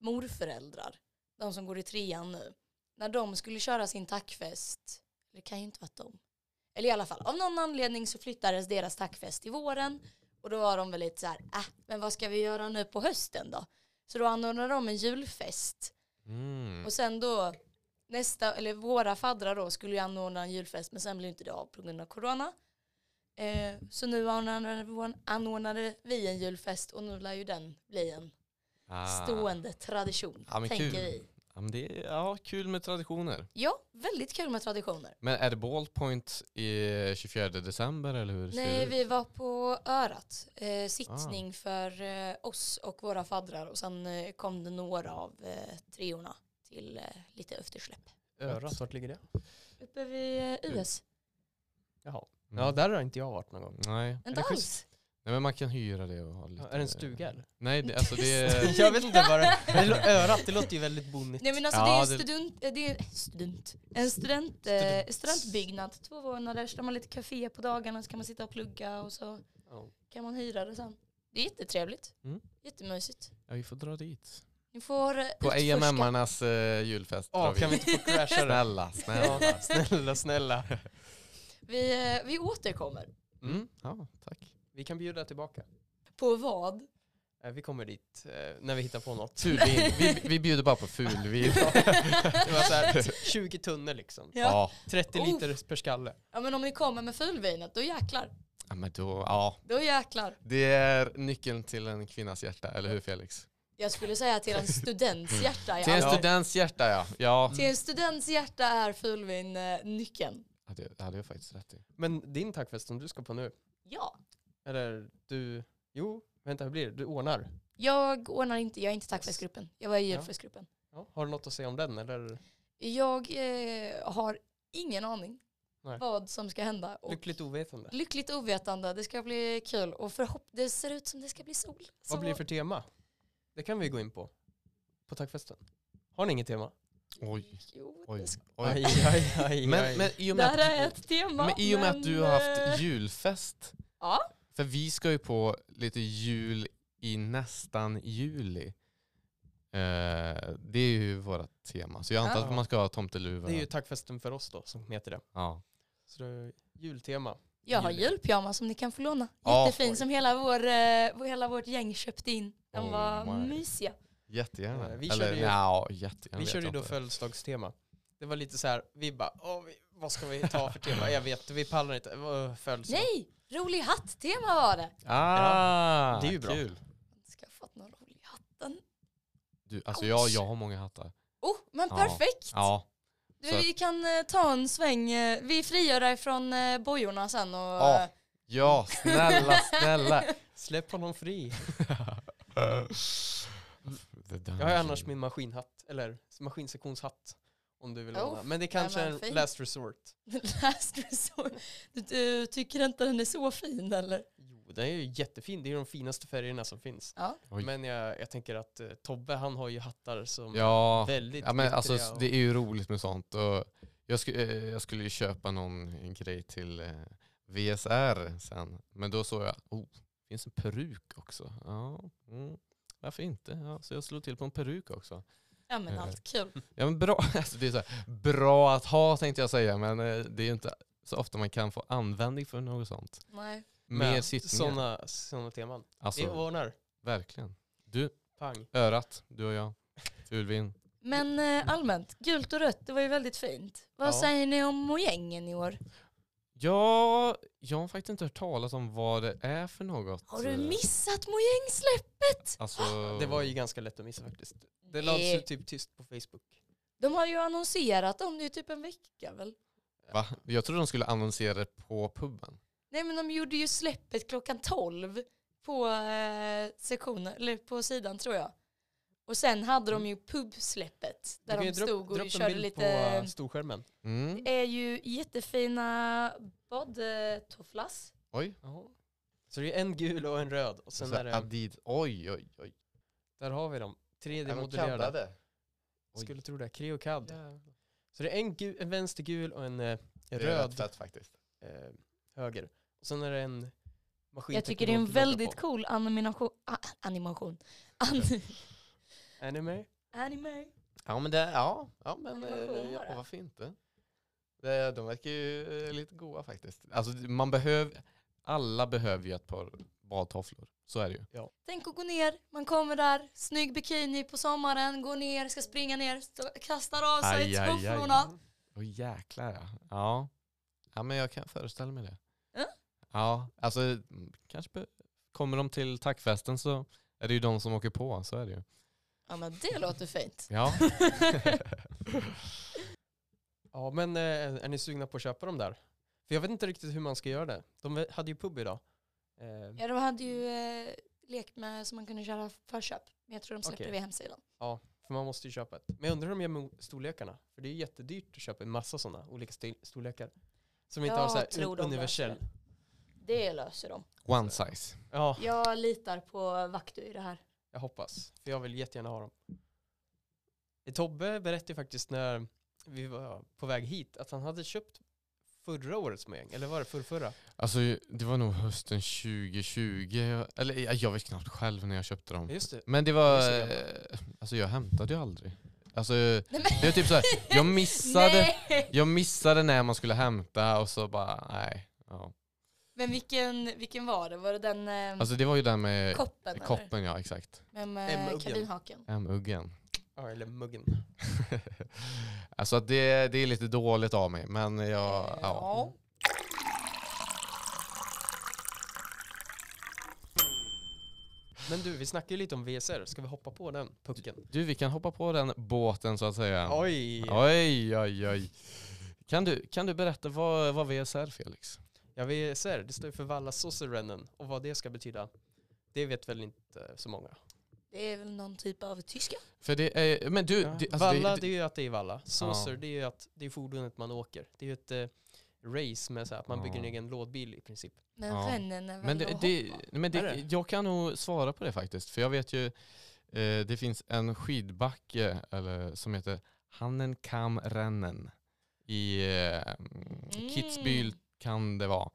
S2: morföräldrar, de som går i trean nu, när de skulle köra sin tackfest, det kan ju inte vara de. Eller i alla fall, av någon anledning så flyttades deras tackfest till våren. Och då var de väl lite så här, äh, men vad ska vi göra nu på hösten då? Så då anordnade de en julfest.
S3: Mm.
S2: Och sen då, nästa, eller våra faddrar då skulle ju anordna en julfest men sen blev inte det av på grund av corona. Eh, så nu anordnade, vår- anordnade vi en julfest och nu lär ju den bli en
S3: Ah.
S2: stående tradition.
S3: Ja, men
S2: tänker
S3: kul.
S2: vi.
S3: Ja, men det är ja, kul med traditioner.
S2: Ja, väldigt kul med traditioner.
S3: Men är det ballpoint i 24 december eller hur ser det
S2: Nej,
S3: ut? Ah.
S2: vi var på örat. Eh, sittning för eh, oss och våra faddrar och sen eh, kom det några av eh, treorna till eh, lite eftersläpp.
S1: Örat, vart ligger det?
S2: Uppe vid eh, US.
S1: Jaha.
S3: Mm.
S1: Ja, där har inte jag varit någon gång.
S3: Nej.
S1: Är
S2: Inte
S1: det
S2: alls.
S3: Nej, men man kan hyra det och ha lite...
S1: Ja, Är det en stuga eller?
S3: Nej, det, alltså det är...
S1: Eh, Jag vet inte vad det men det lå- Örat, det låter ju väldigt bonnigt.
S2: Nej men alltså
S3: Ja,
S2: det är en
S3: det-
S2: student, eh, det är student, en student, eh, studentbyggnad, två våningar, så har man lite café på dagarna så kan man sitta och plugga och så
S1: Ja.
S2: kan man hyra det sen. Det är jättetrevligt,
S3: Mm.
S2: jättemysigt.
S3: Ja, vi får dra dit.
S2: Ni får eh,
S3: På
S2: utforska.
S3: AMM-arnas eh, julfest.
S1: Ja,
S3: drar
S1: kan vi inte få crasha det?
S3: Snälla,
S1: Ja,
S3: snälla.
S1: snälla, snälla.
S2: Vi, eh, vi återkommer.
S3: Mm, ja, tack.
S1: Vi kan bjuda tillbaka.
S2: På vad?
S1: Eh, Vi kommer dit eh, när vi hittar på något.
S3: Fulvin. Vi, vi bjuder bara på fulvin.
S1: Det var så här, 20 tunnor liksom.
S2: Ja.
S1: 30
S2: Oh.
S1: liter per skalle.
S2: ja men om ni kommer med fulvinet, då jäklar.
S3: ja, men då, ja.
S2: Då jäklar.
S3: Det är nyckeln till en kvinnas hjärta, eller hur Felix?
S2: Jag skulle säga till en students hjärta.
S3: Till
S2: Ja.
S3: en students hjärta, ja. Ja,
S2: Till en students hjärta är fulvin eh, nyckeln.
S3: ja det hade jag faktiskt rätt i.
S1: Men din tackfest som du ska på nu,
S2: Ja.
S1: eller du, jo, vänta hur blir det? Du ordnar?
S2: Jag ordnar inte, jag är inte tackfestgruppen. Jag var i
S1: Ja.
S2: hjälpfestgruppen.
S1: Ja. Har du något att säga om den eller?
S2: Jag eh, har ingen aning
S1: Nej.
S2: vad som ska hända. Och
S1: Lyckligt ovetande.
S2: lyckligt ovetande, det ska bli kul och förhopp det ser ut som det ska bli sol. Så
S1: Vad blir det för tema? Det kan vi gå in på. På tackfesten. Har ni inget tema?
S3: Oj,
S2: Jo,
S3: oj,
S2: det ska-
S1: Aj,
S3: oj.
S1: aj, aj,
S3: Men,
S1: aj.
S3: men, i och
S2: det
S3: med
S2: här är
S3: att,
S2: ett tema.
S3: men i och med att du har
S2: eh,
S3: haft julfest.
S2: Ja.
S3: För vi ska ju på lite jul i nästan juli. Eh, det är ju vårt tema. Så jag antar
S1: Ja.
S3: att man ska ha tomteluva.
S1: det är ju tackfesten för oss då som heter det.
S3: ja.
S1: Så det är jultema.
S2: Jag har
S1: Julia.
S2: julpyjamas som ni kan få låna.
S3: Ja,
S2: Jättefin
S3: oj.
S2: som hela, vår, eh, vår- hela vårt gäng köpte in. De
S3: Oh
S2: var
S3: my.
S2: mysiga.
S3: Jättegärna.
S1: Eh, vi
S3: Eller
S1: körde ju-
S3: nja, jättegärna.
S1: Vi
S3: vet
S1: körde ju
S3: jag
S1: då
S3: inte.
S1: födelsedagstema. Det var lite så här, vi bara, "Åh, vi, vad ska vi ta för tema? Jag vet vi pallar inte. Vad, Födelsedag.
S2: Nej, rolig hatt-tema var det.
S3: Ah,
S1: Det är ju bra.
S3: Kul.
S2: Ska jag fått någon rolig hatten?
S3: Du, alltså jag,
S2: Ouch.
S3: jag har många hattar.
S2: Oh, men
S3: Ja.
S2: perfekt!
S3: Ja.
S2: Du,
S3: så-
S2: vi kan eh, ta en sväng. eh, vi frigör dig från eh, bojorna sen och...
S3: Ja. Ja, snälla, snälla.
S1: Släpp honom fri.
S3: Det där
S1: Jag har
S3: är
S1: ju
S3: kul.
S1: annars min maskinhatt, eller maskinsektionshatt. Om du vill
S2: Oh,
S1: låna. Men det är kanske
S2: den
S1: är
S2: var
S1: en
S2: fin.
S1: last resort.
S2: Last resort. eh, Du, du tycker inte den är så fin eller?
S1: Jo, den är ju jättefin. Det är ju de finaste färgerna som finns.
S2: Ja.
S3: Oj.
S1: Men jag, jag tänker att eh, Tobbe, han har ju hattar som
S3: Ja,
S1: väldigt
S3: ja men alltså
S1: glittriga och-
S3: det är ju roligt med sånt. Och jag, sku, eh, jag skulle ju köpa någon grej till eh, VSR sen. Men då såg jag, oh, det finns en peruk också. Ja, mm, varför inte? Ja, så jag slog till på en peruk också.
S2: Ja men
S3: Eh.
S2: allt kul.
S3: Ja men bra, alltså det är så här, bra att ha tänkte jag säga. Men eh, det är ju inte så ofta man kan få användning för något sånt.
S2: Nej.
S3: Mer
S1: med
S3: sittningar.
S1: sådana såna teman. Vi
S3: Alltså,
S1: ordnar.
S3: verkligen. Du,
S1: Pang.
S3: örat, du och jag. Ulvin.
S2: Men eh, allmänt, gult och rött, det var ju väldigt fint. Vad
S1: Ja.
S2: säger ni om mojängen i år?
S3: Ja, jag har faktiskt inte hört talas om vad det är för något.
S2: Har du
S3: Eh,
S2: missat mojängsläppet?
S3: Alltså,
S1: Det var ju ganska lätt att missa faktiskt. Det lades ju
S2: Nej.
S1: typ tyst på Facebook.
S2: De har ju annonserat om det i typ en vecka väl?
S3: Va? Jag trodde de skulle annonsera det på puben.
S2: Nej men de gjorde ju släppet klockan 12 på eh, sektionen, eller på sidan tror jag. Och sen hade de ju pubsläppet där
S1: Mm. Du kan ju dra
S2: de
S1: upp-
S2: stod
S1: dra upp
S2: och
S1: en
S2: körde
S1: bild
S2: lite...
S1: på eh, storskärmen.
S3: Mm.
S2: Det är ju jättefina badtofflas.
S3: Oj.
S1: Så det är en gul och en röd. Och sen
S3: Så
S1: är det,
S3: Adid. Oj, oj, oj.
S1: där har vi dem.
S3: Är de
S1: 3D-modellerade.
S3: kaddade? Oj.
S1: Skulle tro det. Kreokad.
S3: Jävlar.
S1: Så det är en, gu- en vänstergul och en eh,
S3: Det är
S1: röd
S3: rätt fett faktiskt.
S1: eh, höger. Och sen är det en maskin.
S2: Jag tycker det är en väldigt cool animation. a- animation. An
S1: Anime.
S2: anime.
S3: Ja, men det, ja, ja, men
S2: Men vad
S3: eh,
S2: cool var
S3: ja,
S2: det?
S3: varför inte? Det, de verkar ju eh, lite goa faktiskt. Alltså, man behöver, alla behöver ju ett par badtofflor. Så är det ju.
S2: Tänk att gå ner, man kommer där, snygg bikini på sommaren, går ner, ska springa ner, stå, kastar av sig
S3: Aj, aj, aj.
S2: tofflorna.
S3: Åh jäklar ja. ja. Ja men jag kan föreställa mig det.
S2: Ja.
S3: Ja, alltså mm, kanske be- kommer de till tackfesten så är det ju de som åker på, så är det ju.
S2: Ja men det låter fint.
S3: Ja.
S1: Ja men eh, är ni sugna på att köpa dem där? För jag vet inte riktigt hur man ska göra det. De hade ju pub idag. Eh,
S2: Ja de hade ju eh, lekt med som man kunde köra förköp. Men jag tror de släpper
S1: Okej.
S2: det vid hemsidan.
S1: För man måste ju köpa ett. Men jag undrar hur de gör med storlekarna. För det är ju jättedyrt att köpa en massa sådana olika stil- storlekar. Som inte
S2: Jag
S1: har så här
S2: tror
S1: un-
S2: de
S1: universell.
S2: löser Det löser de.
S3: One size.
S1: Ja,
S2: Jag litar på Vaktu i det här.
S1: jag hoppas. För jag vill jättegärna ha dem. Eh, Tobbe berättade ju faktiskt när vi var på väg hit att han hade köpt förra årets mojäng. Eller var det förrförra?
S3: Alltså det var nog hösten 2020, eller jag, jag vet knappt själv när jag köpte
S1: Ja,
S3: dem.
S1: Just det.
S3: Men det
S1: Jag
S3: var,
S1: är så
S3: eh, alltså jag hämtade ju aldrig. Alltså det
S2: Nej, men-
S3: var typ så här, jag missade,
S2: Nej!
S3: jag missade när man skulle hämta och så bara nej.
S2: Mm.
S3: Ja.
S2: Men vilken, vilken var det? Var det den eh,
S3: Alltså det var ju den med
S2: koppen? eller?
S3: koppen ja exakt.
S2: Med,
S1: Nej,
S2: med
S1: muggen.
S2: kardinhaken?
S3: M-uggen.
S1: Ja, eller muggen.
S3: alltså att det, det är lite dåligt av mig, men jag...
S2: Eh,
S3: Ja.
S1: Men du, vi snackade ju lite om VSR. Ska vi hoppa på den pucken?
S3: Du, vi kan hoppa på den båten så att säga.
S1: Oj!
S3: oj, oj. oj. Kan, du, kan du berätta vad, vad VSR, Felix?
S1: Ja, VSR, det står ju för Valla Sosserennen. Och vad det ska betyda, det vet väl inte så många.
S2: Det är väl någon typ av tyska?
S3: För det är... Men du...
S1: Ja.
S3: Det, alltså
S1: valla, det,
S3: det,
S1: är ju att det är valla. Saucer,
S3: Ja.
S1: det är ju att det är fordonet man åker. Det är ju ett eh, race med så här, att man bygger en
S3: Ja.
S1: egen lådbil i princip.
S2: Men
S3: Ja.
S2: vännen är väl
S3: men det,
S2: att
S3: det,
S2: hoppa?
S3: men det,
S1: Är det?
S3: jag kan nog svara på det faktiskt, för jag vet ju eh, det finns en skidbacke eller, som heter Hannen kam rennen i eh,
S2: Mm.
S3: Kitzbühel kan det vara.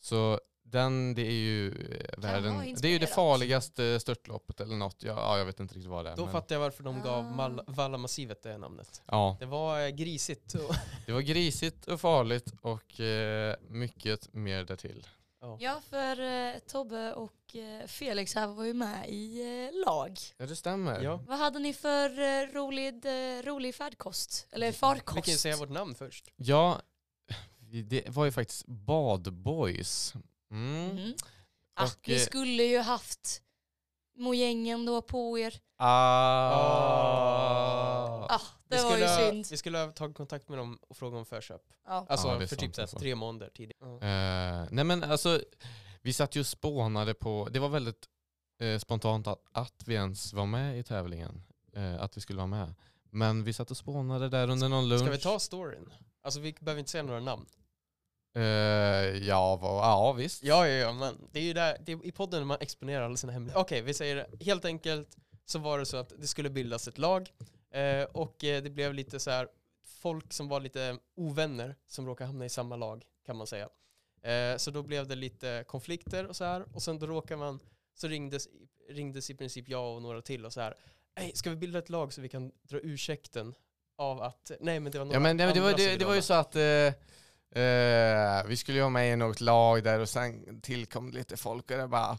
S3: Så den, det är ju eh,
S2: ha
S3: världen, det är ju det
S2: inspirerat.
S3: farligaste störtloppet eller något. Ja, ja, jag vet inte riktigt vad det är.
S1: Då
S3: men-
S1: fattar jag varför de gav
S2: Ah.
S1: Mal- Vallamassivet det namnet.
S3: ja,
S1: Det var eh, grisigt. Och,
S3: det var grisigt och farligt och eh, mycket mer därtill.
S1: ja.
S2: Ja, för eh, Tobbe och eh, Felix här var ju med i eh, lag.
S3: Ja, det stämmer.
S1: Ja.
S2: Vad hade ni för eh, rolig, eh, rolig färdkost? Eller
S1: Vi kan ju
S2: farkost?
S1: säga vårt namn först.
S3: Ja, vi- det var ju faktiskt Badboys. Mm.
S2: Mm. Ah,
S3: Och,
S2: ni
S3: eh,
S2: skulle ju haft mojängen då på er.
S3: Ah.
S2: Ah, det
S1: vi
S2: var ju
S1: skulle, ha-
S2: synd.
S1: Vi skulle ha tagit kontakt med dem och frågat om förköp.
S2: Ja.
S1: Alltså
S3: Ja, det
S1: för
S3: är sant,
S1: typ så här,
S3: alltså.
S1: tre månader tidigare. Ja.
S3: Eh, nej men alltså, vi satt ju och spånade på, det var väldigt eh, spontant att, att vi ens var med i tävlingen. Eh, att vi skulle vara med. Men vi satt och spånade där under någon lunch.
S1: Ska vi ta storyn? Alltså vi behöver inte säga några namn.
S3: Eh, ja, va, ja, visst.
S1: Ja, ja, ja, men det är ju där, det är i podden man exponerar alla sina hemligheter. Okej, vi säger det. helt enkelt så var det så att det skulle bildas ett lag eh, och eh, det blev lite så här folk som var lite ovänner som råkade hamna i samma lag kan man säga. Eh, så då blev det lite konflikter och så här och sen då råkade man, så ringdes, ringdes i princip jag och några till och så här, "Ey, ska vi bilda ett lag så vi kan dra ursäkten av att, nej men det var några
S3: Ja, men det, det, var,
S1: andra som
S3: det,
S1: ville
S3: det var
S1: vara
S3: ju
S1: med."
S3: så att eh, eh, vi skulle ju vara med i något lag där och sen tillkom det lite folk och det bara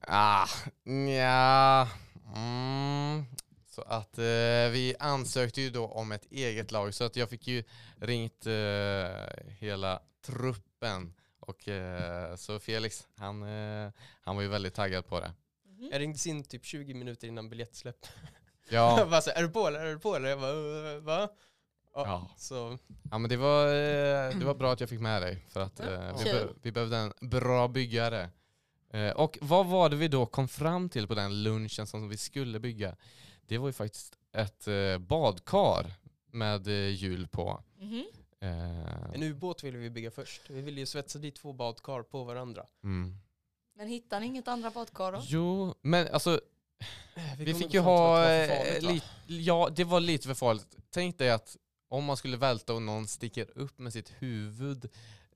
S3: ah, nja, mm. Så att eh, vi ansökte ju då om ett eget lag så att jag fick ju ringt eh, hela truppen och eh, så Felix han, eh, han var ju väldigt taggad på det.
S2: Mhm.
S1: Jag ringdes in typ 20 minuter innan biljettsläpp.
S3: Ja,
S1: Jag bara så här, är du på eller? Är du på eller? Jag bara, "Eh, va? Ja.
S3: ja.
S1: Så,
S3: Ja men det var, eh, det var bra att jag fick med dig för att eh, vi,
S2: kul.
S3: be vi behövde en bra byggare. Eh, och vad var det vi då kom fram till på den lunchen som vi skulle bygga? Det var ju faktiskt ett eh, badkar med eh, hjul på.
S2: Mhm.
S3: Eh,
S1: en ubåt ville vi bygga först. Vi ville ju svetsa dit två badkar på varandra.
S3: mm.
S2: Men hittade ni inget andra badkar då?
S3: Jo, men alltså
S1: Vi,
S3: vi
S1: kom
S3: fick
S1: fram till
S3: ju ha,
S1: att det var för
S3: eh,
S1: farligt, va?
S3: lite, ja det var lite för farligt. Tänk dig att om man skulle välta och någon sticker upp med sitt huvud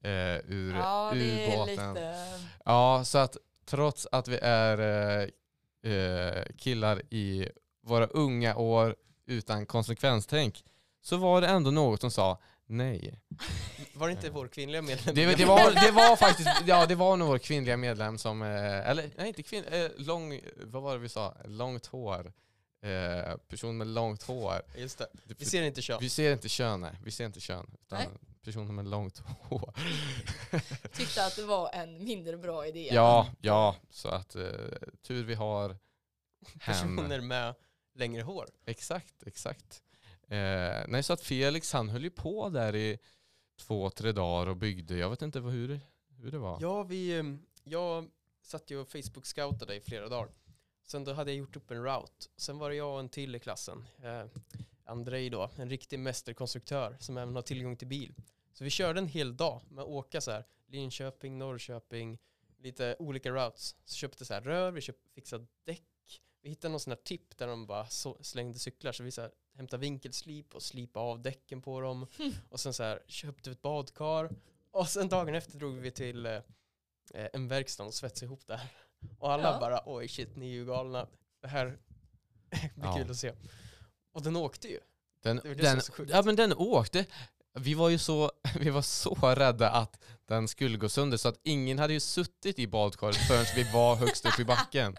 S3: eh, ur
S2: Ja, det är
S3: ubåten.
S2: lite...
S3: Ja, så att trots att vi är eh, eh, killar i våra unga år utan konsekvenstänk så var det ändå något som sa nej.
S1: Var det inte vår kvinnliga medlem?
S3: Mm. Det, det, var, det var faktiskt, ja det var nog vår kvinnliga medlem som, eh, eller nej inte kvinn, eh, lång, vad var det vi sa, långt hår. Eh, person med långt hår.
S1: Just det. Vi ser inte kön.
S3: Vi ser inte kön, nej. Vi ser inte kön. Utan
S2: Nej.
S3: personer med långt hår.
S2: Tyckte att det var en mindre bra idé.
S3: Ja, ja. Så att eh, tur vi har hem.
S1: Personer med längre hår.
S3: Exakt, exakt. Eh, nej, så att Felix han höll ju på där i två, tre dagar och byggde. Jag vet inte vad, hur, hur det var.
S1: Ja, vi, eh, jag satt ju och Facebook-scoutade i flera dagar. Sen då hade jag gjort upp en route. Sen var det jag och en till i klassen. Eh, Andrei då, en riktig mästerkonstruktör som även har tillgång till bil. Så vi körde en hel dag med att åka så här Linköping, Norrköping, lite olika routes. Så köpte så här rör, vi köpte, fixade däck. Vi hittade någon sån här tipp där de bara så, slängde cyklar så vi så här hämtade vinkelslip och slipade av däcken på dem. Och sen så här köpte vi ett badkar. Och sen dagen efter drog vi till eh, eh, en verkstad och svetsade ihop det här. Och alla
S2: Ja.
S1: bara oj shit ni är ju galna. Det här blir
S3: Ja.
S1: kul att se. Och den åkte ju.
S3: Den,
S1: det är det som
S3: den,
S1: är så sjukt.
S3: ja, men den åkte. Vi var ju så, vi var så rädda att den skulle gå sönder så att ingen hade ju suttit i badkaret förrän vi var högst upp i backen.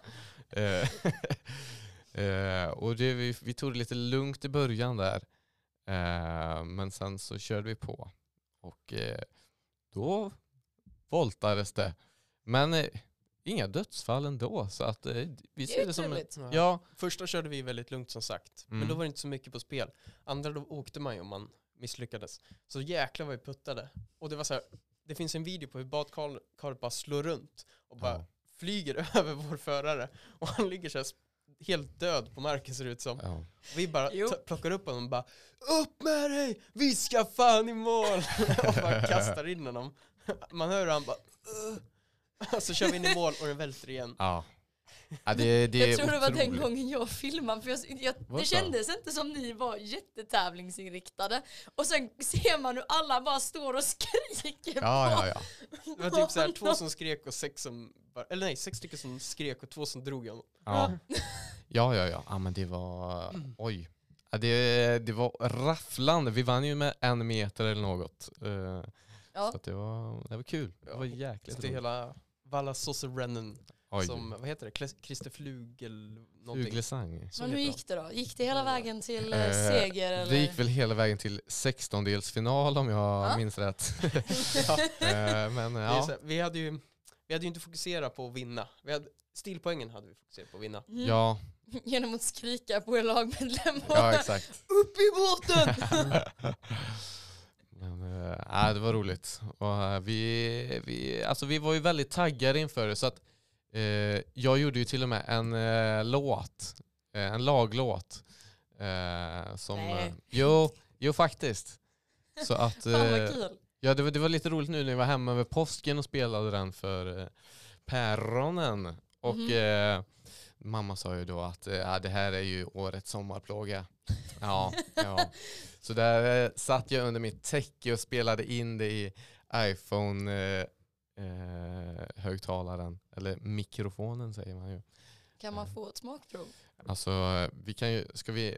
S3: Eh, eh, och det, vi, vi tog det lite lugnt i början där. Eh, men sen så körde vi på. Och eh, då voltades det. Men eh, inga dödsfall ändå. Så att eh, vi
S2: Det är
S3: ser
S2: ju
S3: det som en...
S2: trevligt.
S3: Ja,
S1: Första körde vi väldigt lugnt som sagt,
S3: Mm.
S1: men då var det inte så mycket på spel. Andra då åkte man ju om man misslyckades. Så jäklar vad vi puttade. Och det var så här, det finns en video på hur badkaret bara slår runt och bara
S3: Ja.
S1: flyger över vår förare. Och han ligger så här sp- helt död på marken ser det ut som.
S3: ja.
S1: Och vi bara
S2: Jo.
S1: ta- plockar upp honom och bara Upp med dig! Vi ska fan i mål! och bara kastar in honom. Man hör hur han bara "Ugh." Och så kör vi in i mål och den välter igen.
S3: ja. Ja, det, det är
S2: jag tror det var den
S3: otroligt.
S2: gången jag filmade. För jag, jag,
S3: Vad
S2: det
S3: sa du?
S2: kändes inte som ni var jättetävlingsinriktade. Och sen ser man hur alla bara står och skriker
S3: Ja,
S2: på
S3: ja, ja.
S1: Det var typ så här, två som skrek och sex som, bara, eller nej, sex stycken som skrek och två som drog honom.
S3: Ja, ja, ja. ja. ja men det var... Oj. Ja, det, det var rafflande. Vi vann ju med en meter eller något. Eh,
S2: Ja.
S3: Så att det, var, det var kul. Det var jäkligt
S1: Så det är
S3: roligt.
S1: hela Valla Sosse Brennan
S3: Oj.
S1: som, vad heter det, Kles- Christer Flugel någonting.
S3: Fuglesang.
S1: Så
S2: Men hur
S1: heter
S2: gick det då? Gick det hela
S1: Ja.
S2: vägen till eh,
S3: Eh,
S2: seger? Eller?
S3: Det gick väl hela vägen till 16-delsfinal om jag
S2: Ja.
S3: minns rätt.
S1: han. Ja.
S3: Eh, men
S1: Det är så
S3: ja,
S1: här, vi, hade ju, vi hade ju inte fokuserat på att vinna. Vi hade, stilpoängen hade vi fokuserat på att vinna.
S2: Mm.
S3: ja,
S2: Genom att skrika på er lagmedlemmar.
S3: ja exakt.
S2: Upp i båten!
S3: Men, eh, nej, det var roligt. Och, eh, vi, vi, alltså, vi var ju väldigt taggade inför det. Så att, eh, jag gjorde ju till och med en eh, låt, eh, en laglåt. Eh, som,
S2: Nej.
S3: eh, jo, jo, faktiskt. Så att,
S2: Fan
S3: eh,
S2: vad kul.
S3: ja, det, var, det var lite roligt nu när jag var hemma över påsken och spelade den för eh, päronen. Och
S2: Mhm.
S3: eh, mamma sa ju då att eh, ja, det här är ju årets sommarplåga. Ja, ja. Så där eh, satt jag under mitt täcke och spelade in det i iPhone-högtalaren. Eller mikrofonen säger man ju.
S2: Kan man få ett smakprov?
S3: Alltså, eh, vi kan ju, ska, vi,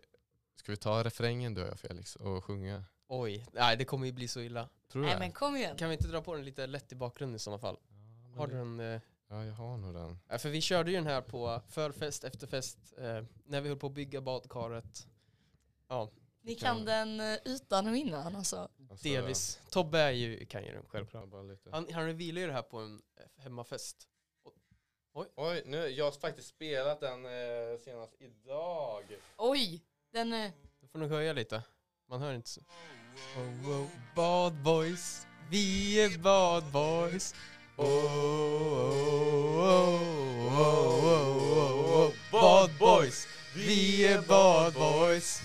S3: ska vi ta refrängen då Felix och sjunga?
S1: Oj, nej det kommer ju bli så illa.
S3: Tror du
S2: Nej
S3: det?
S2: men kom igen.
S1: Kan vi inte dra på den lite lätt i bakgrunden i sådana fall?
S3: Ja, men
S1: Har
S3: det-
S1: du den? Eh,
S3: Ja, jag har nog den.
S1: ja, för vi körde ju den här på förfest, efterfest, eh, när vi höll på att bygga badkaret.
S2: Ni kan den eh, utan och innan alltså.
S3: Alltså,
S1: Delvis. Tobbe är ju, kan ju den
S3: jag
S1: självklart.
S3: har bara lite.
S1: Han, han revealar ju det här på en eh, hemmafest.
S3: Oj, nu, jag har faktiskt spelat den eh, senast idag.
S2: Oj! Den eh,
S3: Mm,
S2: är...
S1: Du får nog höja lite. Man hör inte så. Oh, oh, bad boys. Vi är bad boys. Oh, oh, oh, oh, oh, oh, oh. Bad boys. Vi är bad boys.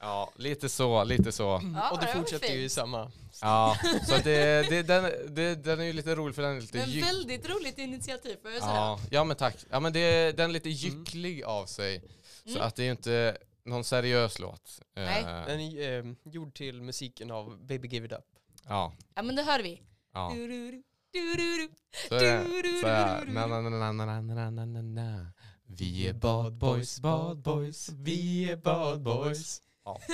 S3: Ja, lite så, lite så.
S2: Ja,
S1: Och det
S2: det var
S1: fortsätter ju i
S2: fint.
S1: samma.
S3: Ja, så att det, det, den, det, den är ju lite rolig för den är lite
S2: Men
S3: gyck-
S2: väldigt roligt initiativ får jag säga.
S3: Ja, ja men tack. Ja, men det, den är lite gycklig av sig. Så
S2: Mm.
S3: att det är ju inte någon seriös låt. Eh,
S1: Den är eh, gjord till musiken av Baby Give It Up.
S3: Ja,
S2: Ja men det hör vi.
S3: ja.
S2: Du-du-du, du-du-du.
S3: Så är det så här, na, na, na, na, na, na, na, na, na. Vi är badboys, badboys, vi är badboys.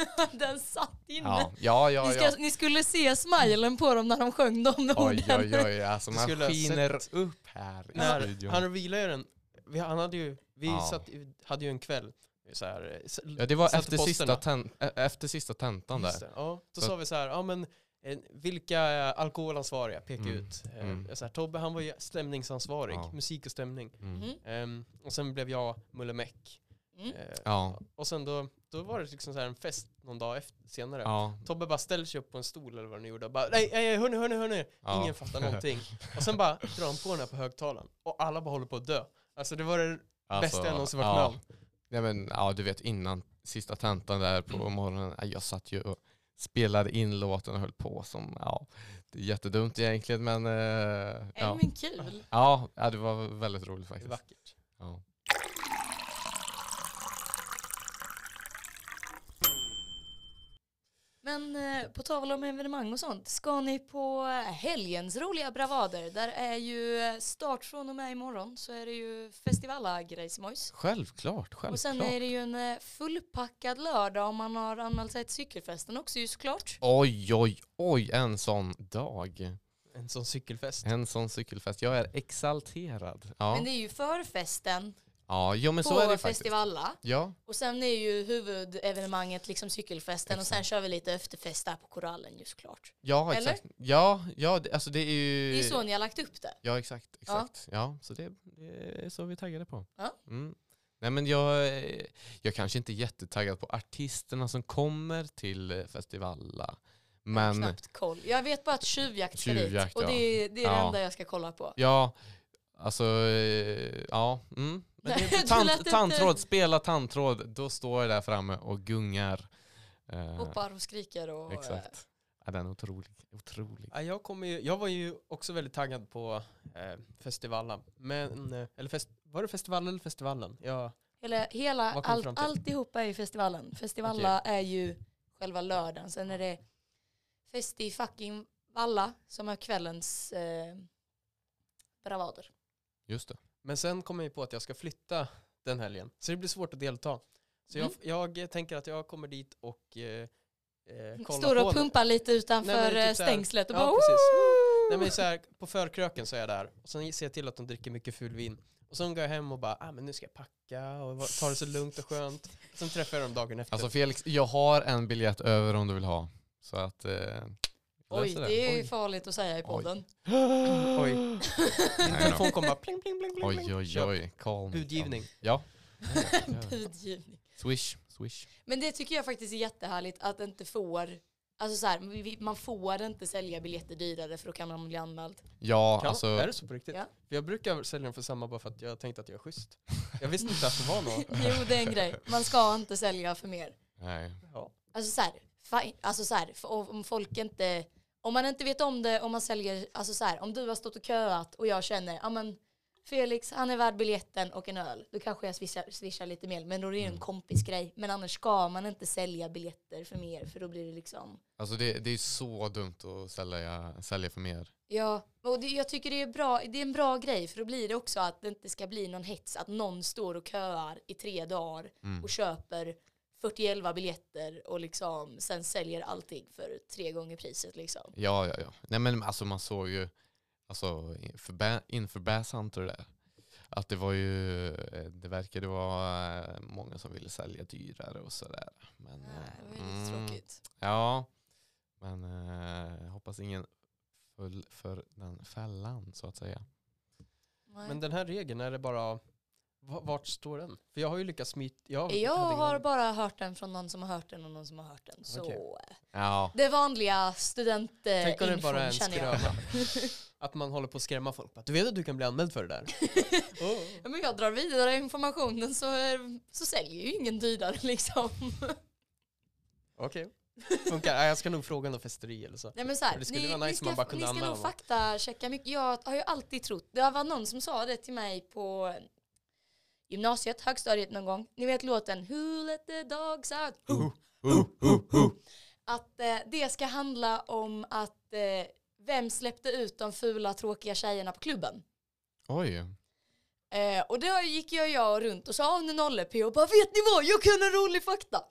S2: Den satt inne.
S3: Ja, ja, ja.
S2: Ni,
S3: ja.
S2: ska, ni skulle se smilen på dem när de sjöng de
S3: Oj,
S2: orden.
S3: oj, oj. Alltså
S1: Du
S3: man
S1: skulle ha
S3: skiner upp här
S1: När
S3: i studion.
S1: Han revealade ju den. Vi, han hade ju, vi
S3: Ja.
S1: satt, ju- hade ju en kväll. Så här, eh, s-
S3: Ja, det var
S1: satte
S3: efter
S1: posterna.
S3: sista, ten, ä- efter sista tentan där.
S1: Just det, Ja, då
S3: Så
S1: sa vi så här, ja men eh, vilka är alkoholansvariga peka
S3: Mm,
S1: ut. Eh,
S3: mm.
S1: jag Så här, Tobbe han var ju stämningsansvarig,
S3: Ja.
S1: musik och stämning.
S3: Mm.
S2: Mm.
S1: Ehm, och sen blev jag Mulle Meck.
S2: Mm.
S1: Eh,
S3: Ja,
S1: Och sen då, då var det liksom så här en fest någon dag efter, senare.
S3: ja.
S1: Tobbe bara ställde sig upp på en stol eller vad han gjorde och bara nej, nej hörni, hörni, hörni.
S3: Ja.
S1: Ingen fattar någonting. Och sen bara drar han på den här på högtalaren och alla bara håller på att dö. Alltså det var det
S3: Alltså,
S1: bästa jag någonsin varit med
S3: ja.
S1: om.
S3: Nej, men, ja, du vet innan sista tentan där på
S1: Mm.
S3: morgonen. ja, Jag satt ju och spelade in låten och höll på som, ja, det är jättedumt egentligen men eh,
S2: Ja.
S3: ja.
S2: Men kul.
S3: Ja, ja, det var väldigt roligt
S1: Det är
S3: faktiskt.
S1: vackert.
S3: Ja.
S2: Men eh, på tal om evenemang och sånt, ska ni på eh, helgens roliga bravader? Där är ju eh, start från och med imorgon så är det ju festivala-grejsmojs.
S3: Självklart, självklart.
S2: Och sen är det ju en eh, fullpackad lördag om man har anmält sig till cykelfesten också ju såklart.
S3: Oj, oj, oj, en sån dag.
S1: En sån cykelfest.
S3: En sån cykelfest. Jag är exalterad. Ja,
S2: Men det är ju förfesten
S3: ja jo, men så är
S2: på
S3: det faktiskt.
S2: festivalla.
S3: Ja,
S2: Och sen är ju huvudevenemanget liksom cykelfesten och sen kör vi lite efterfest där på korallen ju såklart.
S3: ja
S2: Eller?
S3: exakt. Ja, ja, det- alltså det är
S2: Det
S3: ju...
S2: är ju så ni har lagt upp det.
S3: Ja, exakt. exakt. Ja. så det, det är så vi är taggade på.
S2: Ja.
S3: Mm. Nej, men jag, eh, jag kanske inte är jättetaggad på artisterna som kommer till eh, Festivala. Men
S2: Knappt koll. Jag vet bara att tjuvjakt ska dit
S3: Tjuvjakt,
S2: och det är det, är det
S3: Ja.
S2: enda jag ska kolla på.
S3: ja, alltså eh, ja. Mm. Men det
S2: Du
S3: är
S2: lät
S3: tant,
S2: inte-
S3: tandtråd, spela tandtråd. Då står jag där framme och gungar. Eh,
S2: Hoppar och skriker och... eh,
S3: Exakt. Ja, den är otrolig. otrolig.
S1: Ja, jag, kommer ju, jag var ju också väldigt taggad på eh, festivalen, men, eh, eller fest, Var det festival eller festivalen? Ja,
S2: Hela, hela
S1: Vad kom vi
S2: allt-
S1: fram till?
S2: alltihopa är ju festivalen. Festivalla är ju själva lördagen. Sen är det Festi fucking Valla som är kvällens eh, bravader.
S3: Just det.
S1: men sen kom jag ju på att jag ska flytta den helgen. Så det blir svårt att delta. Så jag, jag tänker att jag kommer dit och eh, eh, kollar
S2: Står
S1: på
S2: och
S1: den.
S2: pumpar lite utanför
S1: Nej, men typ
S2: eh,
S1: så här-
S2: stängslet och
S1: ja,
S2: bara
S1: precis.
S2: "Woo!"
S1: Nej men så här, på förkröken så är jag där. Och sen ser jag till att de dricker mycket ful vin. Och sen går jag hem och bara, ah, men nu ska jag packa och va- ta det så lugnt och skönt. Sen träffar jag dem dagen efter.
S3: Alltså Felix, jag har en biljett över om du vill ha. Så att... Eh,
S2: Oj,
S3: löser
S2: det är ju
S3: Oj.
S2: farligt att säga i podden.
S1: Oj. Min
S3: då.
S1: telefon kom bara pling, pling, pling, pling. pling.
S3: Oj, oj,
S1: Kör.
S3: oj. Calm.
S1: Budgivning.
S3: Ja.
S2: Budgivning.
S3: Swish, swish.
S2: Men det tycker jag faktiskt är jättehärligt att inte får, alltså så här, vi- vi- man får inte sälja biljetter dyrare för då kan man bli anmäld.
S3: Ja,
S1: Kan,
S3: alltså...
S1: Är det så på riktigt?
S2: Ja.
S1: För jag brukar sälja dem för samma bara för att jag tänkte att jag är schysst. Jag visste inte att det var något.
S2: jo, det är en grej. Man ska inte sälja för mer.
S3: Nej.
S1: Ja.
S2: Alltså så här, fi- alltså så här f- om folk inte, om man inte vet om det, om man säljer, alltså så här, om du har stått och köat och jag känner, ja men Felix, han är värd biljetten och en öl. Då kanske jag swishar, swishar lite mer, men då är det ju en kompisgrej. Men annars ska man inte sälja biljetter för mer, för då blir det liksom,
S3: Alltså det, det är så dumt att sälja, sälja för mer.
S2: ja. Och det, jag tycker det är, bra, det är en bra grej, för då blir det också att det inte ska bli någon hets, att någon står och köar i tre dagar
S3: Mm.
S2: och köper 41 biljetter och liksom sen säljer allting för tre gånger priset liksom.
S3: Ja, ja, ja. Nej men alltså man såg ju alltså, inför, ba- inför Bass Hunter där. Att det var ju, eh, det verkade vara eh, många som ville sälja dyrare och sådär. Men,
S2: Nej,
S3: eh,
S2: det var ju lite
S3: mm,
S2: tråkigt.
S3: Ja, men eh, jag hoppas ingen föll för den fällan så att säga.
S2: Nej.
S1: Men den här regeln, är det bara, va- vart står den? För jag har ju lyckats smita. Jag,
S2: jag
S1: hade ingen
S2: har
S1: aning.
S2: bara hört den från någon som har hört den och någon som har hört den. Så eh,
S3: Ja,
S2: det vanliga
S1: Tänk om det bara är
S2: studentinfon
S1: en
S2: känner jag.
S1: skröna. Att man håller på att skrämma folk. Bara, Du vet att du kan bli anmäld för det där? oh.
S2: Ja, men jag drar vidare informationen så, eh, så säljer ju ingen dyrare liksom.
S1: Okej. Funkar. Nej, jag ska nog fråga något festeri eller så.
S2: Nej, men så här,
S1: Det skulle
S2: ni,
S1: vara nice
S2: ni
S1: om
S2: ska,
S1: man bara kunde
S2: ni ska
S1: anmäla
S2: nog
S1: någon.
S2: faktachecka mycket. Jag har ju alltid trott, det var någon som sa det till mig på gymnasiet, högstadiet någon gång. Ni vet låten Who let the dogs out? Who? Att eh, det ska handla om att eh, vem släppte ut de fula tråkiga tjejerna på klubben?
S3: oj.
S2: Eh, och då gick jag, jag runt och sa "Åh, nu nolle P och bara vet ni vad, jag kunde rolig fakta.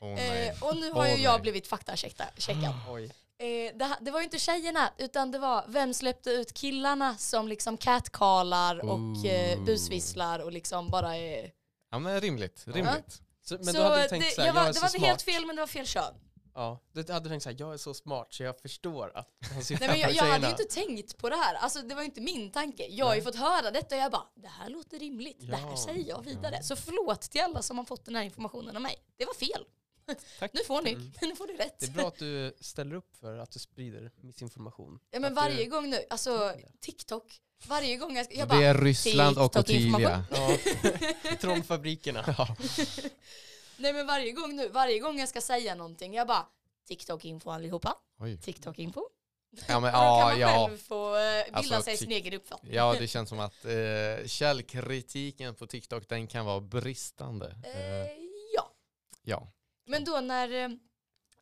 S3: Åh nej.
S2: Eh, och nu har ju
S3: Åh,
S2: jag
S3: nej.
S2: blivit faktacheckad.
S1: Oj.
S2: Eh, det, ha- det var ju inte tjejerna, utan det var vem släppte ut killarna som liksom catcallar och eh,
S3: Ooh.
S2: busvisslar och liksom bara är...
S3: Ja men rimligt, rimligt.
S1: Så, men
S2: så
S1: då hade du
S2: det-
S1: tänkt så här,
S2: jag
S1: jag, är
S2: var, det
S1: så
S2: var
S1: smart.
S2: inte helt fel men det var fel kön.
S1: Ja, du hade tänkt så här, jag är så smart så jag förstår att han syftar
S2: Nej, men jag,
S1: på
S2: jag hade ju
S1: tjejerna."
S2: inte tänkt på det här, alltså, det var ju inte min tanke. Jag har ju
S1: Nej.
S2: fått höra detta och jag bara, det här låter rimligt, det här
S1: Ja,
S2: säger jag vidare. Så förlåt till alla som har fått den här informationen av mig. Det var fel.
S1: Tack.
S2: Nu får ni,
S1: Mm.
S2: nu får ni rätt.
S1: Det är bra att du ställer upp för att du sprider missinformation.
S2: Ja, men
S1: Att du-
S2: varje gång nu, alltså TikTok, varje gång jag, ska-
S3: Så
S2: jag
S3: det
S2: bara,
S3: är Ryssland och
S2: TikTok-information.
S3: Ottilia.
S1: Ja, trollfabrikerna. Ja.
S2: nej men varje gång nu, varje gång jag ska säga någonting, jag bara, TikTok-info allihopa.
S3: Oj.
S2: TikTok-info.
S3: Ja men
S2: Och då kan man
S3: ja, ja.
S2: själv få eh, bilda
S3: Alltså,
S2: sig sin
S3: tik-
S2: egen uppfattning.
S3: Ja, det känns som att eh, källkritiken på TikTok den kan vara bristande. Eh,
S2: Eh, ja,
S3: ja.
S2: men då när,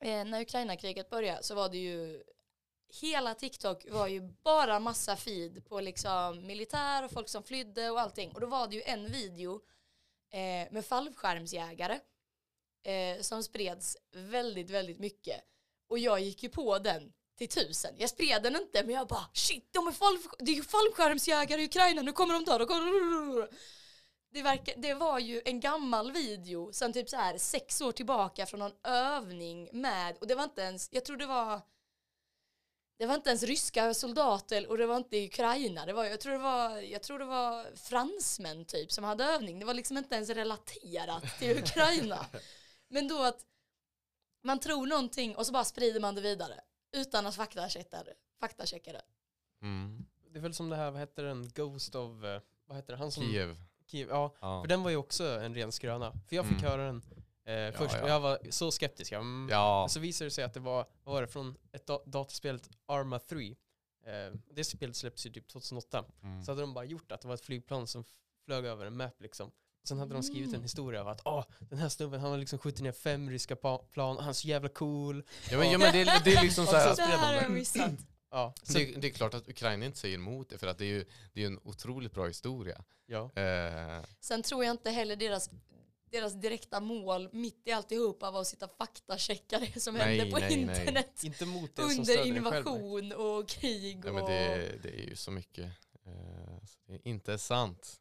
S2: eh, när Ukraina-kriget började så var det ju Hela TikTok var ju bara massa feed på liksom militär och folk som flydde och allting. Och då var det ju en video eh, med fallskärmsjägare eh, som spreds väldigt, väldigt mycket. Och jag gick ju på den till tusen. Jag spred den inte men jag bara shit, de är fallsk- det är ju fallskärmsjägare i Ukraina, nu kommer de dö, de kommer... Det, verkar, det var ju en gammal video sen typ så här sex år tillbaka från någon övning med, och det var inte ens, jag tror det var det var inte ens ryska soldater och det var inte Ukraina. Det var, jag, tror det var, jag tror det var fransmän typ som hade övning. Det var liksom inte ens relaterat till Ukraina. Men då att man tror någonting och så bara sprider man det vidare utan att faktachecka det. Faktachecka det.
S3: Mm.
S1: Det är väl som det här, vad heter den, Ghost of, eh, vad heter det, han som...
S3: Kiev.
S1: Kiev, ja.
S3: Ja.
S1: För den var ju också en ren skröna. För jag fick
S3: Mm.
S1: höra den eh, först
S3: ja.
S1: och jag var så skeptisk. Jag, mm.
S3: Ja.
S1: Och Så visade det sig att det var, vad var det, från ett da- dataspel, Arma 3. Eh, det spelet släpptes ju typ 2008.
S3: Mm.
S1: Så hade de bara gjort att det var ett flygplan som f- flög över en map liksom. Sen hade de skrivit en
S2: Mm.
S1: historia av att åh, den här snubben han har liksom skjutit ner fem ryska pa- plan, han är så jävla cool.
S3: Ja, men, ja, men det, är- det är liksom så här,
S1: Och
S2: Det här har jag missat.
S1: Ja, så,
S3: det, det är klart att Ukraina inte säger emot det för att det är ju det är ju en otroligt bra historia.
S1: ja.
S3: Eh,
S2: Sen tror jag inte heller deras, deras direkta mål mitt i alltihopa var att sitta och faktachecka det som
S3: Nej,
S2: hände på
S3: nej, nej.
S2: internet.
S1: Inte mot det som
S2: Under
S1: stöder en själv. nej.
S2: invasion och krig och...
S3: ja, men det, det är ju så mycket. Eh, så det är inte sant.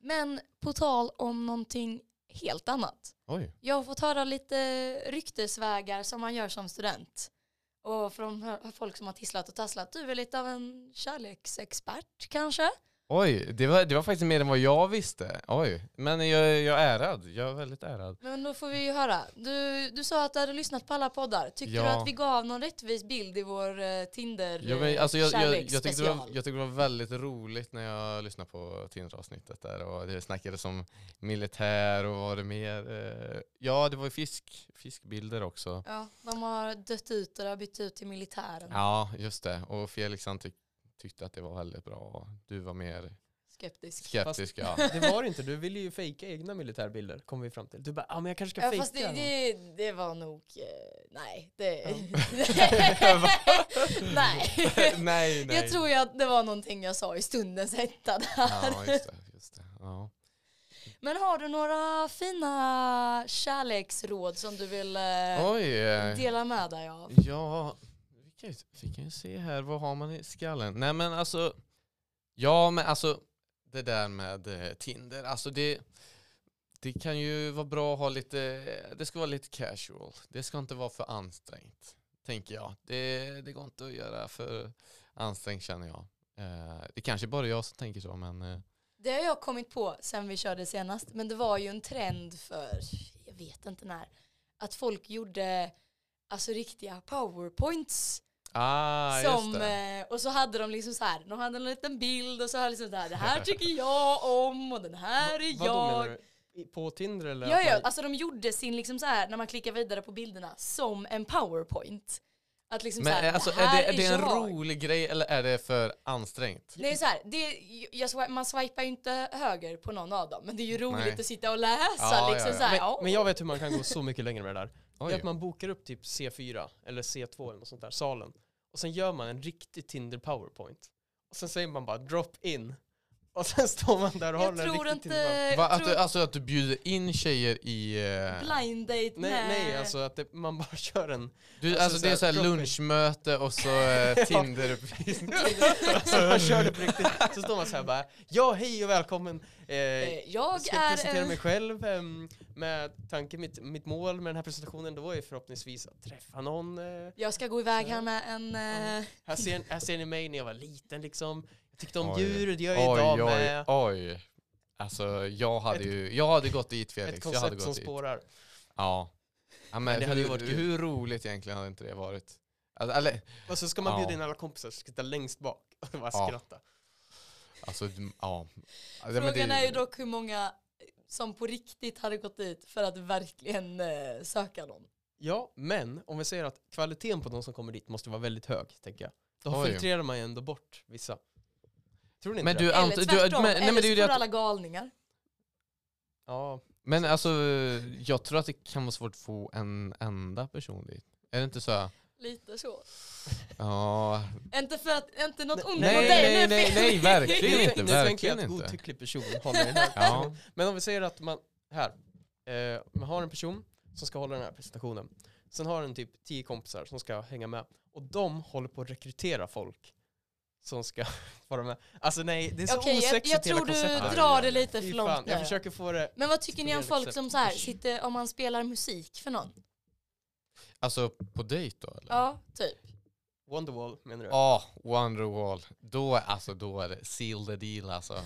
S2: Men på tal om någonting helt annat.
S3: Oj.
S2: Jag har fått höra lite ryktesvägar som man gör som student. Och från hö- folk som har tisslat och tasslat. Du är lite av en kärleksexpert kanske?
S3: Oj, det var, det var faktiskt mer än vad jag visste. Oj, men jag, jag är ärad. Jag är väldigt ärad.
S2: Men då får vi ju höra. Du, du sa att du hade lyssnat på alla poddar. Tyckte du
S3: Ja.
S2: att vi gav någon rättvis bild i vår eh, Tinder
S3: Jo, men, alltså, jag, jag, jag, tyckte det var,
S2: kärleksspecial?
S3: jag tyckte det var väldigt roligt när jag lyssnade på Tinder-avsnittet där och det snackades om militär och vad det mer. Eh, ja, det var ju fisk, fiskbilder också.
S2: Ja, de har dött ut och det har bytt ut till militären.
S3: Ja, just det. Och Felix han tyck, tyckte att det var väldigt bra. Du var mer
S2: Skeptisk.
S3: skeptisk. Ja.
S1: Det var det inte, du ville ju fejka egna militärbilder kom vi fram till. Du bara, ja ah, men jag kanske ska
S2: Ja,
S1: fejka.
S2: fast det,
S1: dem."
S2: det, det var nog... eh, nej, det...
S1: Ja.
S2: nej.
S3: nej, nej.
S2: Jag tror ju att det var någonting jag sa i stundens hetta där.
S3: Ja, just det. Just det. Ja.
S2: Men har du några fina kärleksråd som du vill eh,
S3: Oj. eh,
S2: dela med dig av?
S3: Ja, vi kan, ju, vi kan ju se här, vad har man i skallen? Nej men alltså, ja men alltså det där med eh, Tinder, alltså det, det kan ju vara bra att ha lite, det ska vara lite casual, det ska inte vara för ansträngt, tänker jag. Det, det går inte att göra för ansträngt känner jag. Eh, det kanske bara är jag som tänker så men eh,
S2: Det har jag kommit på sen vi körde senast, men det var ju en trend för, jag vet inte när, att folk gjorde alltså riktiga powerpoints.
S3: ah,
S2: som,
S3: just det.
S2: eh, och så hade de liksom så här, de hade en liten bild och så här liksom så här, det här tycker jag om och den här är
S1: Vadå, menar
S2: jag.
S1: du? I- På Tinder eller?
S2: Ja,
S1: att
S2: ja,
S1: man-
S2: alltså de gjorde sin liksom så här, när man klickar vidare på bilderna, som en powerpoint. Att liksom så
S3: Men
S2: här,
S3: eh, alltså,
S2: det här
S3: är det, är det en
S2: jag.
S3: rolig grej eller är det för ansträngt?
S2: Nej så här, det, jag, swi- man swipar ju inte höger på någon av dem, men det är ju roligt
S3: Nej.
S2: att sitta och läsa
S3: Ja,
S2: liksom
S3: ja, ja.
S2: så här.
S1: men,
S2: ja.
S1: men jag vet hur man kan gå så mycket längre med det där. Det är
S3: Oj.
S1: att man bokar upp typ C4 eller C2 eller något sånt där, salen. Och sen gör man en riktig Tinder powerpoint. Och sen säger man bara drop in. Och sen står man där och
S2: jag
S1: håller en
S2: tror
S1: riktig
S2: inte...
S1: Tinder powerpoint.
S2: jag
S3: Va, att
S2: tror
S3: du, alltså att du bjuder in tjejer i... eh,
S2: blind date
S1: Nej, nej, alltså att det, man bara kör en...
S3: du,
S1: alltså
S3: alltså det är
S1: så här
S3: såhär
S1: dropping.
S3: lunchmöte och så eh, Tinder-uppvisning.
S1: alltså man kör det på riktigt. Så står man så här bara, ja hej och välkommen. Eh,
S2: Eh,
S1: jag
S2: Jag
S1: ska
S2: är
S1: presentera
S2: en
S1: mig själv ehm, med tanke, mitt, mitt mål med den här presentationen då är förhoppningsvis att träffa någon. Eh,
S2: Jag ska gå iväg här med en... eh,
S1: här, ser, här ser ni mig när jag var liten liksom. Jag tyckte om
S3: Oj.
S1: djur och det gör jag idag
S3: oj, oj,
S1: med.
S3: oj. Alltså jag hade ju, jag hade gått dit
S1: Ett
S3: Felix. Jag hade
S1: koncept som
S3: gått dit.
S1: spårar.
S3: Ja. ja men
S1: det
S3: hur,
S1: hade ju varit kul.
S3: hur roligt egentligen hade inte det varit? Alltså, eller,
S1: Och så ska man bjuda
S3: Ja.
S1: in alla kompisar som sitter längst bak och bara
S3: Ja.
S1: skratta.
S3: alltså ja. Alltså, men det-
S2: Frågan är ju dock hur många som på riktigt hade gått dit för att verkligen eh, söka någon.
S1: Ja, men om vi säger att kvaliteten på de som kommer dit måste vara väldigt hög, tänker jag. Då
S3: Oj.
S1: filtrerar man ju ändå bort vissa. Tror ni inte
S3: Men
S1: det?
S3: du,
S2: Eller
S3: Ant- du, men,
S2: tvärtom,
S3: nej, men
S2: eller
S3: det är ju
S2: så
S3: det
S2: får
S3: att
S2: alla galningar.
S1: Ja,
S3: Men alltså, jag tror att det kan vara svårt att få en enda person dit. Är det inte så?
S2: Lite så.
S3: Ja.
S2: Inte, för att, inte något ont
S1: Nej,
S2: mot dig
S3: nej,
S2: nu,
S3: nej,
S2: Felix.
S3: nej, verkligen.
S1: Nu
S3: inte,
S1: tänker- Nu tänker jag
S3: verkligen
S1: att
S3: inte.
S1: godtycklig person håller den här
S3: Ja.
S1: Men om vi säger att man, här, eh, man har en person som ska hålla den här presentationen. Sen har den typ tio kompisar som ska hänga med. Och de håller på att rekrytera folk som ska vara med. Alltså nej, det är så
S2: Okej, jag,
S1: osexigt
S2: jag tror
S1: hela
S2: du
S1: konceptet.
S3: Aj,
S2: drar
S3: aj,
S2: det
S3: aj.
S2: lite
S1: Fy
S2: för
S1: fan,
S2: långt
S1: jag
S2: nu.
S1: försöker få det.
S2: Men vad tycker ni om folk som så här,
S1: Usch.
S2: sitter, om man spelar musik för
S1: Mm.
S2: någon?
S3: Alltså på dejt då eller?
S2: Ja, typ.
S1: Wonderwall menar du?
S3: Ja, Wonderwall. Då, är- alltså, då är det seal the deal alltså.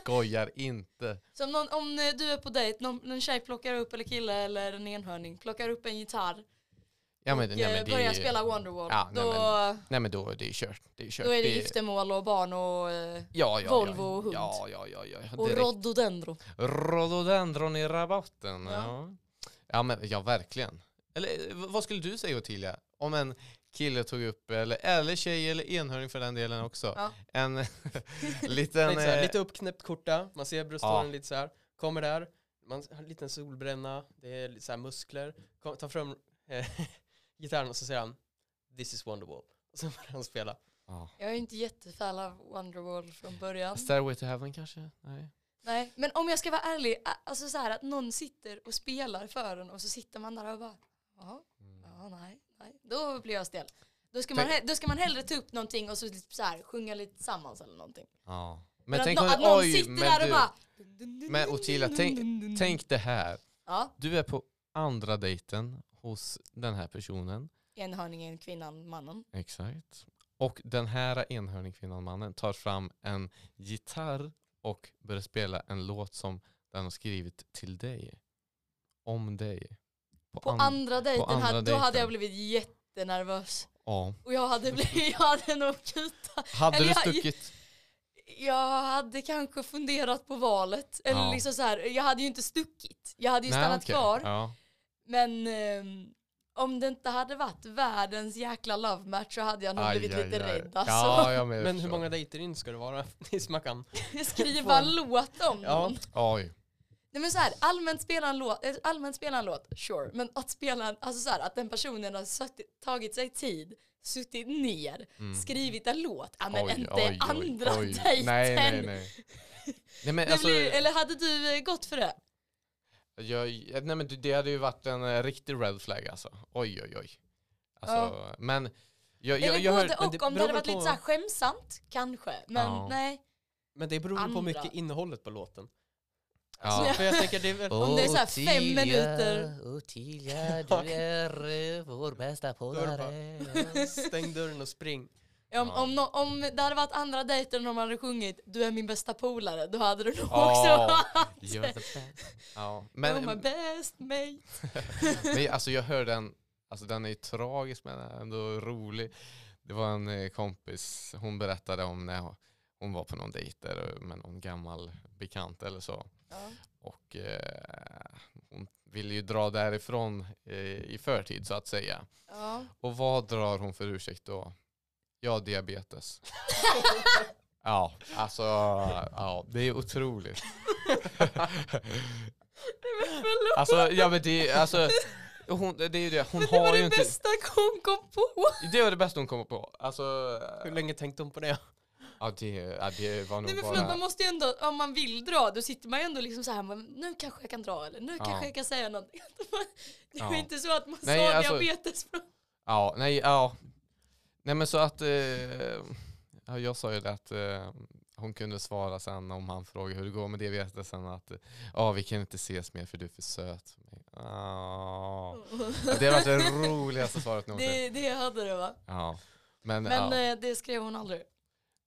S3: Skojar inte.
S2: Så om, någon, om eh, du är på dejt, någon, någon tjej plockar upp, eller kille eller en enhörning, plockar upp en gitarr
S3: Ja, men,
S2: och
S3: nej,
S2: eh,
S3: men det,
S2: börjar
S3: är-
S2: spela Wonderwall,
S3: Ja, nej,
S2: då,
S3: Nej men då är det kört. Det är kört.
S2: då är det giftermål och barn och, eh,
S3: ja, ja,
S2: Volvo
S3: ja,
S2: och hund.
S3: Ja, ja, ja. ja.
S2: och
S3: Direkt.
S2: rhododendron.
S3: Rhododendron i rabatten.
S2: Ja.
S3: Ja. ja men ja verkligen. Eller v- vad skulle du säga Ottilia om en kille tog upp, eller, eller tjej eller enhörning för den delen också,
S2: Ja.
S3: en
S1: Lite,
S3: liten...
S1: så här,
S3: eh,
S1: lite uppknäppt korta, man ser brösthåren
S3: Ja.
S1: lite så här. Kommer där, man har en liten solbränna, det är lite så här muskler. Kom, tar fram eh, gitarren och så säger han This is Wonderwall. Och så börjar han spela.
S3: ja.
S2: Jag är inte jättefan av Wonderwall från början.
S3: Stairway to heaven kanske? Nej.
S2: Nej, men om jag ska vara ärlig, a- alltså så här att någon sitter och spelar för en och så sitter man där och bara, jaha, ja, nej, nej, då blir jag stel. Då ska, man,
S3: Mm. Tänk-
S2: he- då ska man hellre ta upp någonting och så, typ så här, sjunga lite tillsammans eller någonting.
S3: Ja. Men,
S2: Men, att,
S3: tänk
S2: nå-
S3: om,
S2: att någon
S3: oj,
S2: sitter
S3: men
S2: där
S3: du,
S2: och bara...
S3: Men Ottilia, tänk- Tänk det här.
S2: Ja,
S3: Du är på andra dejten hos den här personen.
S2: enhörningen, kvinnan, mannen.
S3: Exakt. Och den här enhörningkvinnan, mannen, tar fram en gitarr och börjar spela en låt som den har skrivit till dig. Om dig.
S2: På
S3: an-
S2: andra dejten,
S3: andra
S2: hade- då hade
S3: dejten.
S2: jag blivit jättenervös.
S3: Ja.
S2: Och jag hade, blivit, jag hade nog kutat.
S3: Hade
S2: Eller
S3: du
S2: jag-
S3: stuckit?
S2: Jag hade kanske funderat på valet. Eller
S3: Ja.
S2: liksom så här, jag hade ju inte stuckit. Jag hade ju
S3: Nej,
S2: stannat
S3: okej.
S2: kvar.
S3: Ja.
S2: Men ehm, om det inte hade varit världens jäkla love match så hade jag nog blivit
S3: Aj,
S2: lite
S3: aj, aj.
S2: rädd alltså.
S3: Ja, jag med,
S1: Men hur
S3: förstår.
S1: många dejter in ska det vara i Smackan?
S2: Skriva en låt om
S1: Ja.
S2: någon.
S3: Oj.
S2: Nej men så här, allmänt spela en låt, eh, allmänt spela en låt, sure. Men att spela, en, alltså så här, att den personen har suttit, tagit sig tid, suttit ner,
S3: Mm.
S2: skrivit en låt. Ja men
S3: Oj,
S2: inte
S3: oj, oj,
S2: andra
S3: oj.
S2: dejten.
S3: Nej, nej, nej. nej men
S2: Det
S3: alltså,
S2: blir, eller hade du eh, gått för det?
S3: jag, nej men det hade ju varit en eh, riktig red flag alltså. Oj, oj, oj. Alltså, men jag, jag,
S2: eller
S3: jag
S2: både
S3: hör,
S1: men
S2: och,
S1: det
S2: om det hade
S1: beror
S2: varit
S1: väl
S2: lite
S1: på-
S2: så här skämsamt, kanske. Men
S3: Ja.
S2: nej.
S1: Men det beror väl på
S2: Andra.
S1: mycket innehållet på låten.
S3: ja.
S1: För jag tänker det är väl...
S2: Om det är så här fem Ottilia, minuter.
S4: Ottilia,
S1: du Ja.
S4: är vår bästa
S1: är det bara- Stäng dörren och spring.
S2: Om,
S3: Ja.
S2: om, nå- om det hade varit andra dejter när de hade sjungit Du är min bästa polare, då hade du nog också
S3: Ja,
S2: haft
S3: you're the best. ja.
S2: men,
S3: Men,
S2: my best mate.
S3: men alltså jag hör den, alltså den är ju tragisk men ändå rolig. Det var en eh, kompis, hon berättade om när hon var på någon dejt där eh, med någon gammal bekant eller så.
S2: Ja.
S3: Och eh, hon ville ju dra därifrån eh, i förtid så att säga.
S2: Ja.
S3: Och vad drar hon för ursäkt då? Ja, diabetes. ja, alltså ja, det är otroligt.
S2: Förlåt,
S3: Alltså, ja men det, alltså, hon, det är ju det, hon
S2: men det var
S3: har ju
S2: det
S3: inte...
S2: bästa hon kom på.
S3: Det var det bästa hon kom på. Alltså,
S1: Hur länge tänkte hon på det?
S3: ja det, ja, det var nog
S2: Nej men
S3: bara...
S2: förlåt, man måste ju ändå, om man vill dra, då sitter man ju ändå liksom så här, men nu kanske jag kan dra eller nu
S3: Ja.
S2: kanske jag kan säga någonting. Det var
S3: Ja.
S2: inte så att man
S3: Nej,
S2: sa
S3: alltså-
S2: diabetes från...
S3: Ja, nej, ja. Nej men så att, eh, ja, jag sa ju det att eh, hon kunde svara sen om han frågade hur det går med diabetesen att eh, ja vi kan inte ses mer för du är för söt för mig. Ja. Ja, Det har varit det roligaste svaret någonsin.
S2: Det, det hade det va?
S3: Ja. Men,
S2: Men
S3: ja.
S2: eh, det skrev hon aldrig.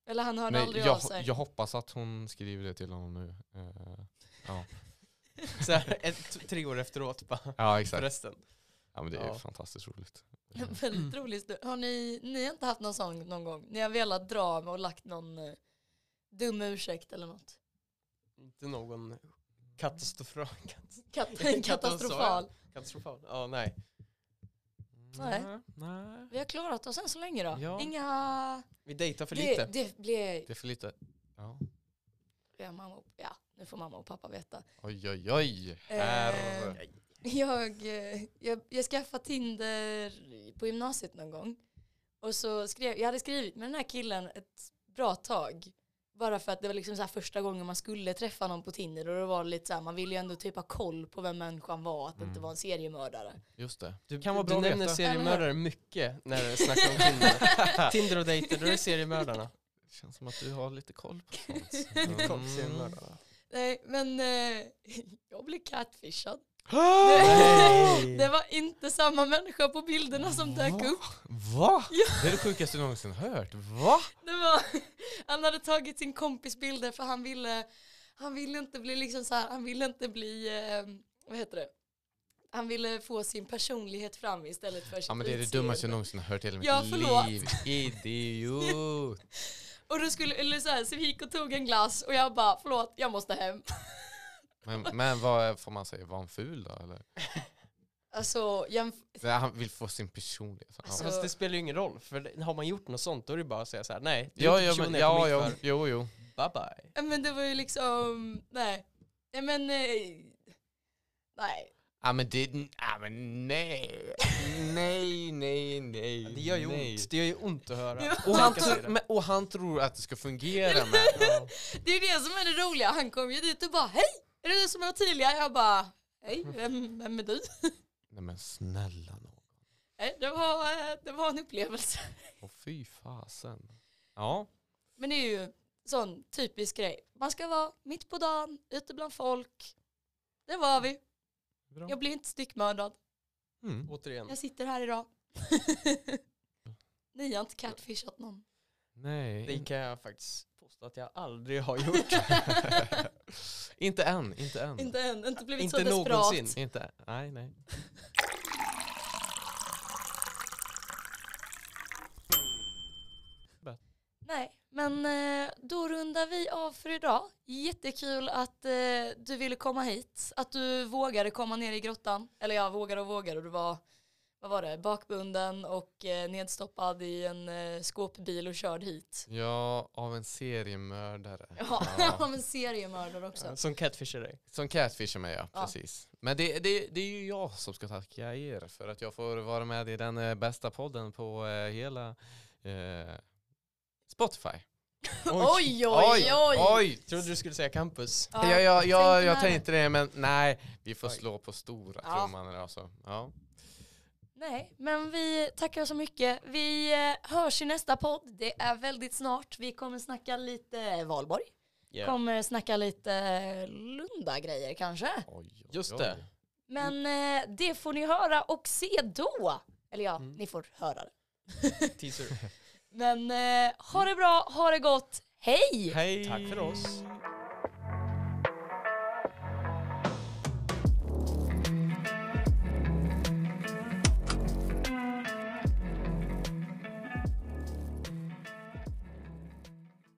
S2: Eller han hörde
S3: Nej,
S2: aldrig av
S3: jag,
S2: sig.
S3: jag hoppas att hon skriver det till honom nu. Eh, ja.
S1: Så här, ett, tre år efteråt bara.
S3: ja exakt.
S1: Förresten.
S3: Ja, men det är
S1: Ja.
S3: fantastiskt roligt.
S2: Väldigt rolig historia. Har ni, ni har inte haft någon sån någon gång? Ni har velat dra och lagt någon eh, dum ursäkt eller något?
S1: Inte någon katastrofal.
S2: Kat- katastrofal.
S1: Katastrofal? Ja, nej.
S2: Nej.
S3: Nej.
S2: Vi har klarat oss än så länge då.
S3: Ja.
S2: Inga...
S1: Vi dejtar för
S2: det,
S1: lite.
S2: det blev...
S3: Det är för lite. Ja.
S2: Ja, mamma och, ja, nu får mamma och pappa veta.
S3: Oj oj oj. Här.
S2: Eh, Jag, eh, jag, jag skaffade Tinder på gymnasiet någon gång. Och så skrev, jag hade skrivit med den här killen ett bra tag. Bara för att det var liksom så här första gången man skulle träffa någon på Tinder. Och då var det lite så här, man ville ju ändå typ ha koll på vem människan var. Att det inte
S3: Mm.
S2: var en seriemördare.
S3: Just det.
S1: Du,
S3: Kan vara bra
S1: du
S3: att
S1: nämner
S3: veta.
S1: seriemördare mycket när du snackar om Tinder. Tinder och dejter, då är det seriemördarna.
S3: Det känns som att du har lite koll på sånt.
S1: Lite koll på
S3: Mm.
S1: seriemördarna.
S2: Nej, men eh, jag blev catfishad.
S1: Nej.
S2: Det var inte samma människa på bilderna som dök
S3: Va?
S2: upp.
S3: Va? Det är det sjukaste jag någonsin hört. Va?
S2: Det var, han hade tagit sin kompis bilder för han ville, han ville inte bli liksom så här, han ville inte bli, eh, vad heter det? Han ville få sin personlighet fram istället för sitt
S3: Ja men det är det
S2: utseende.
S3: dummaste jag någonsin har hört i hela mitt
S2: Ja, förlåt.
S3: liv. Idiot.
S2: Och då skulle, eller så här, så vi gick och tog en glass och jag bara, förlåt, jag måste hem.
S3: Men, men vad är- får man säga? Var han ful då eller?
S2: Alltså, jämf-
S3: Nej, Han vill få sin personlighet. Ja.
S2: Alltså,
S1: Fast det spelar ju ingen roll, för det- har man gjort något sånt då är det bara att säga så här: nej, du är
S3: ja,
S1: inte
S3: ja,
S1: personen
S3: men,
S1: jag
S3: ja,
S1: kom hit
S3: ja,
S1: för.
S3: jo, jo.
S1: Bye bye.
S2: ja, men det var ju liksom, nej. Nej men, nej. nej.
S3: Ja men det, ja men nej. Nej, nej, nej.
S1: Ja, Det gör ju
S3: nej.
S1: ont, det gör ju ont att höra.
S2: Ja.
S3: Och
S1: Olika
S3: han,
S1: sidor.
S2: alltså.
S3: tror, Alltså, men, och han tror att det ska fungera med.
S1: Ja.
S2: Det är det som är det roliga, han kom ju dit och bara hej, är det du som är Ottilia? Jag bara, hej, vem, vem är du?
S3: Nej men snälla någon.
S2: Nej, Det var, eh, det var en upplevelse.
S3: Åh fy fasen. Ja.
S2: Men det är ju sån typisk grej. Man ska vara mitt på dagen, ute bland folk. Det var vi.
S3: Bra.
S2: Jag blev inte styckmördad.
S3: Mm.
S1: Återigen.
S2: Jag sitter här idag. Ni har inte catfishat någon.
S1: Det
S3: Nej.
S1: kan jag faktiskt påstå att jag aldrig har gjort.
S3: Inte än, inte än.
S2: inte än, inte blivit
S1: Mm. Inte
S2: så desperat.
S1: någonsin.
S3: Inte, nej, nej.
S2: Nej, men eh, då rundar vi av för idag. Jättekul att eh, du ville komma hit, att du vågade komma ner i grottan. Eller jag vågade och vågade och du var, vad var det, bakbunden och eh, nedstoppad i en eh, skåpbil och körd hit.
S3: Ja, av en seriemördare.
S2: Ja,
S3: Ja.
S2: av en seriemördare också.
S1: Som catfishar dig.
S3: Som catfishar mig, ja.
S2: Ja.
S3: Precis. Men det, det, det är ju jag som ska tacka er för att jag får vara med i den eh, bästa podden på eh, hela eh, Spotify.
S2: Oj, oj, oj!
S1: Trodde du skulle säga campus.
S2: Ja,
S3: jag, jag, jag,
S2: tänkte
S3: jag
S2: med det.
S3: tänkte det, men nej. Vi får
S1: Oj.
S3: slå på stora
S2: Ja.
S3: trumman idag. Så. Ja.
S2: Nej, men vi tackar så mycket. Vi eh, hörs i nästa podd. Det är väldigt snart. Vi kommer snacka lite valborg.
S1: Yeah.
S2: Kommer snacka lite Lunda-grejer kanske.
S3: Oj, oj,
S1: Just
S3: oj.
S1: det.
S2: Men eh, det får ni höra och se då. Eller ja,
S1: Mm.
S2: ni får höra det.
S1: Teaser.
S2: Men eh, ha det bra, ha det gott. Hej!
S3: Hej!
S1: Tack för oss.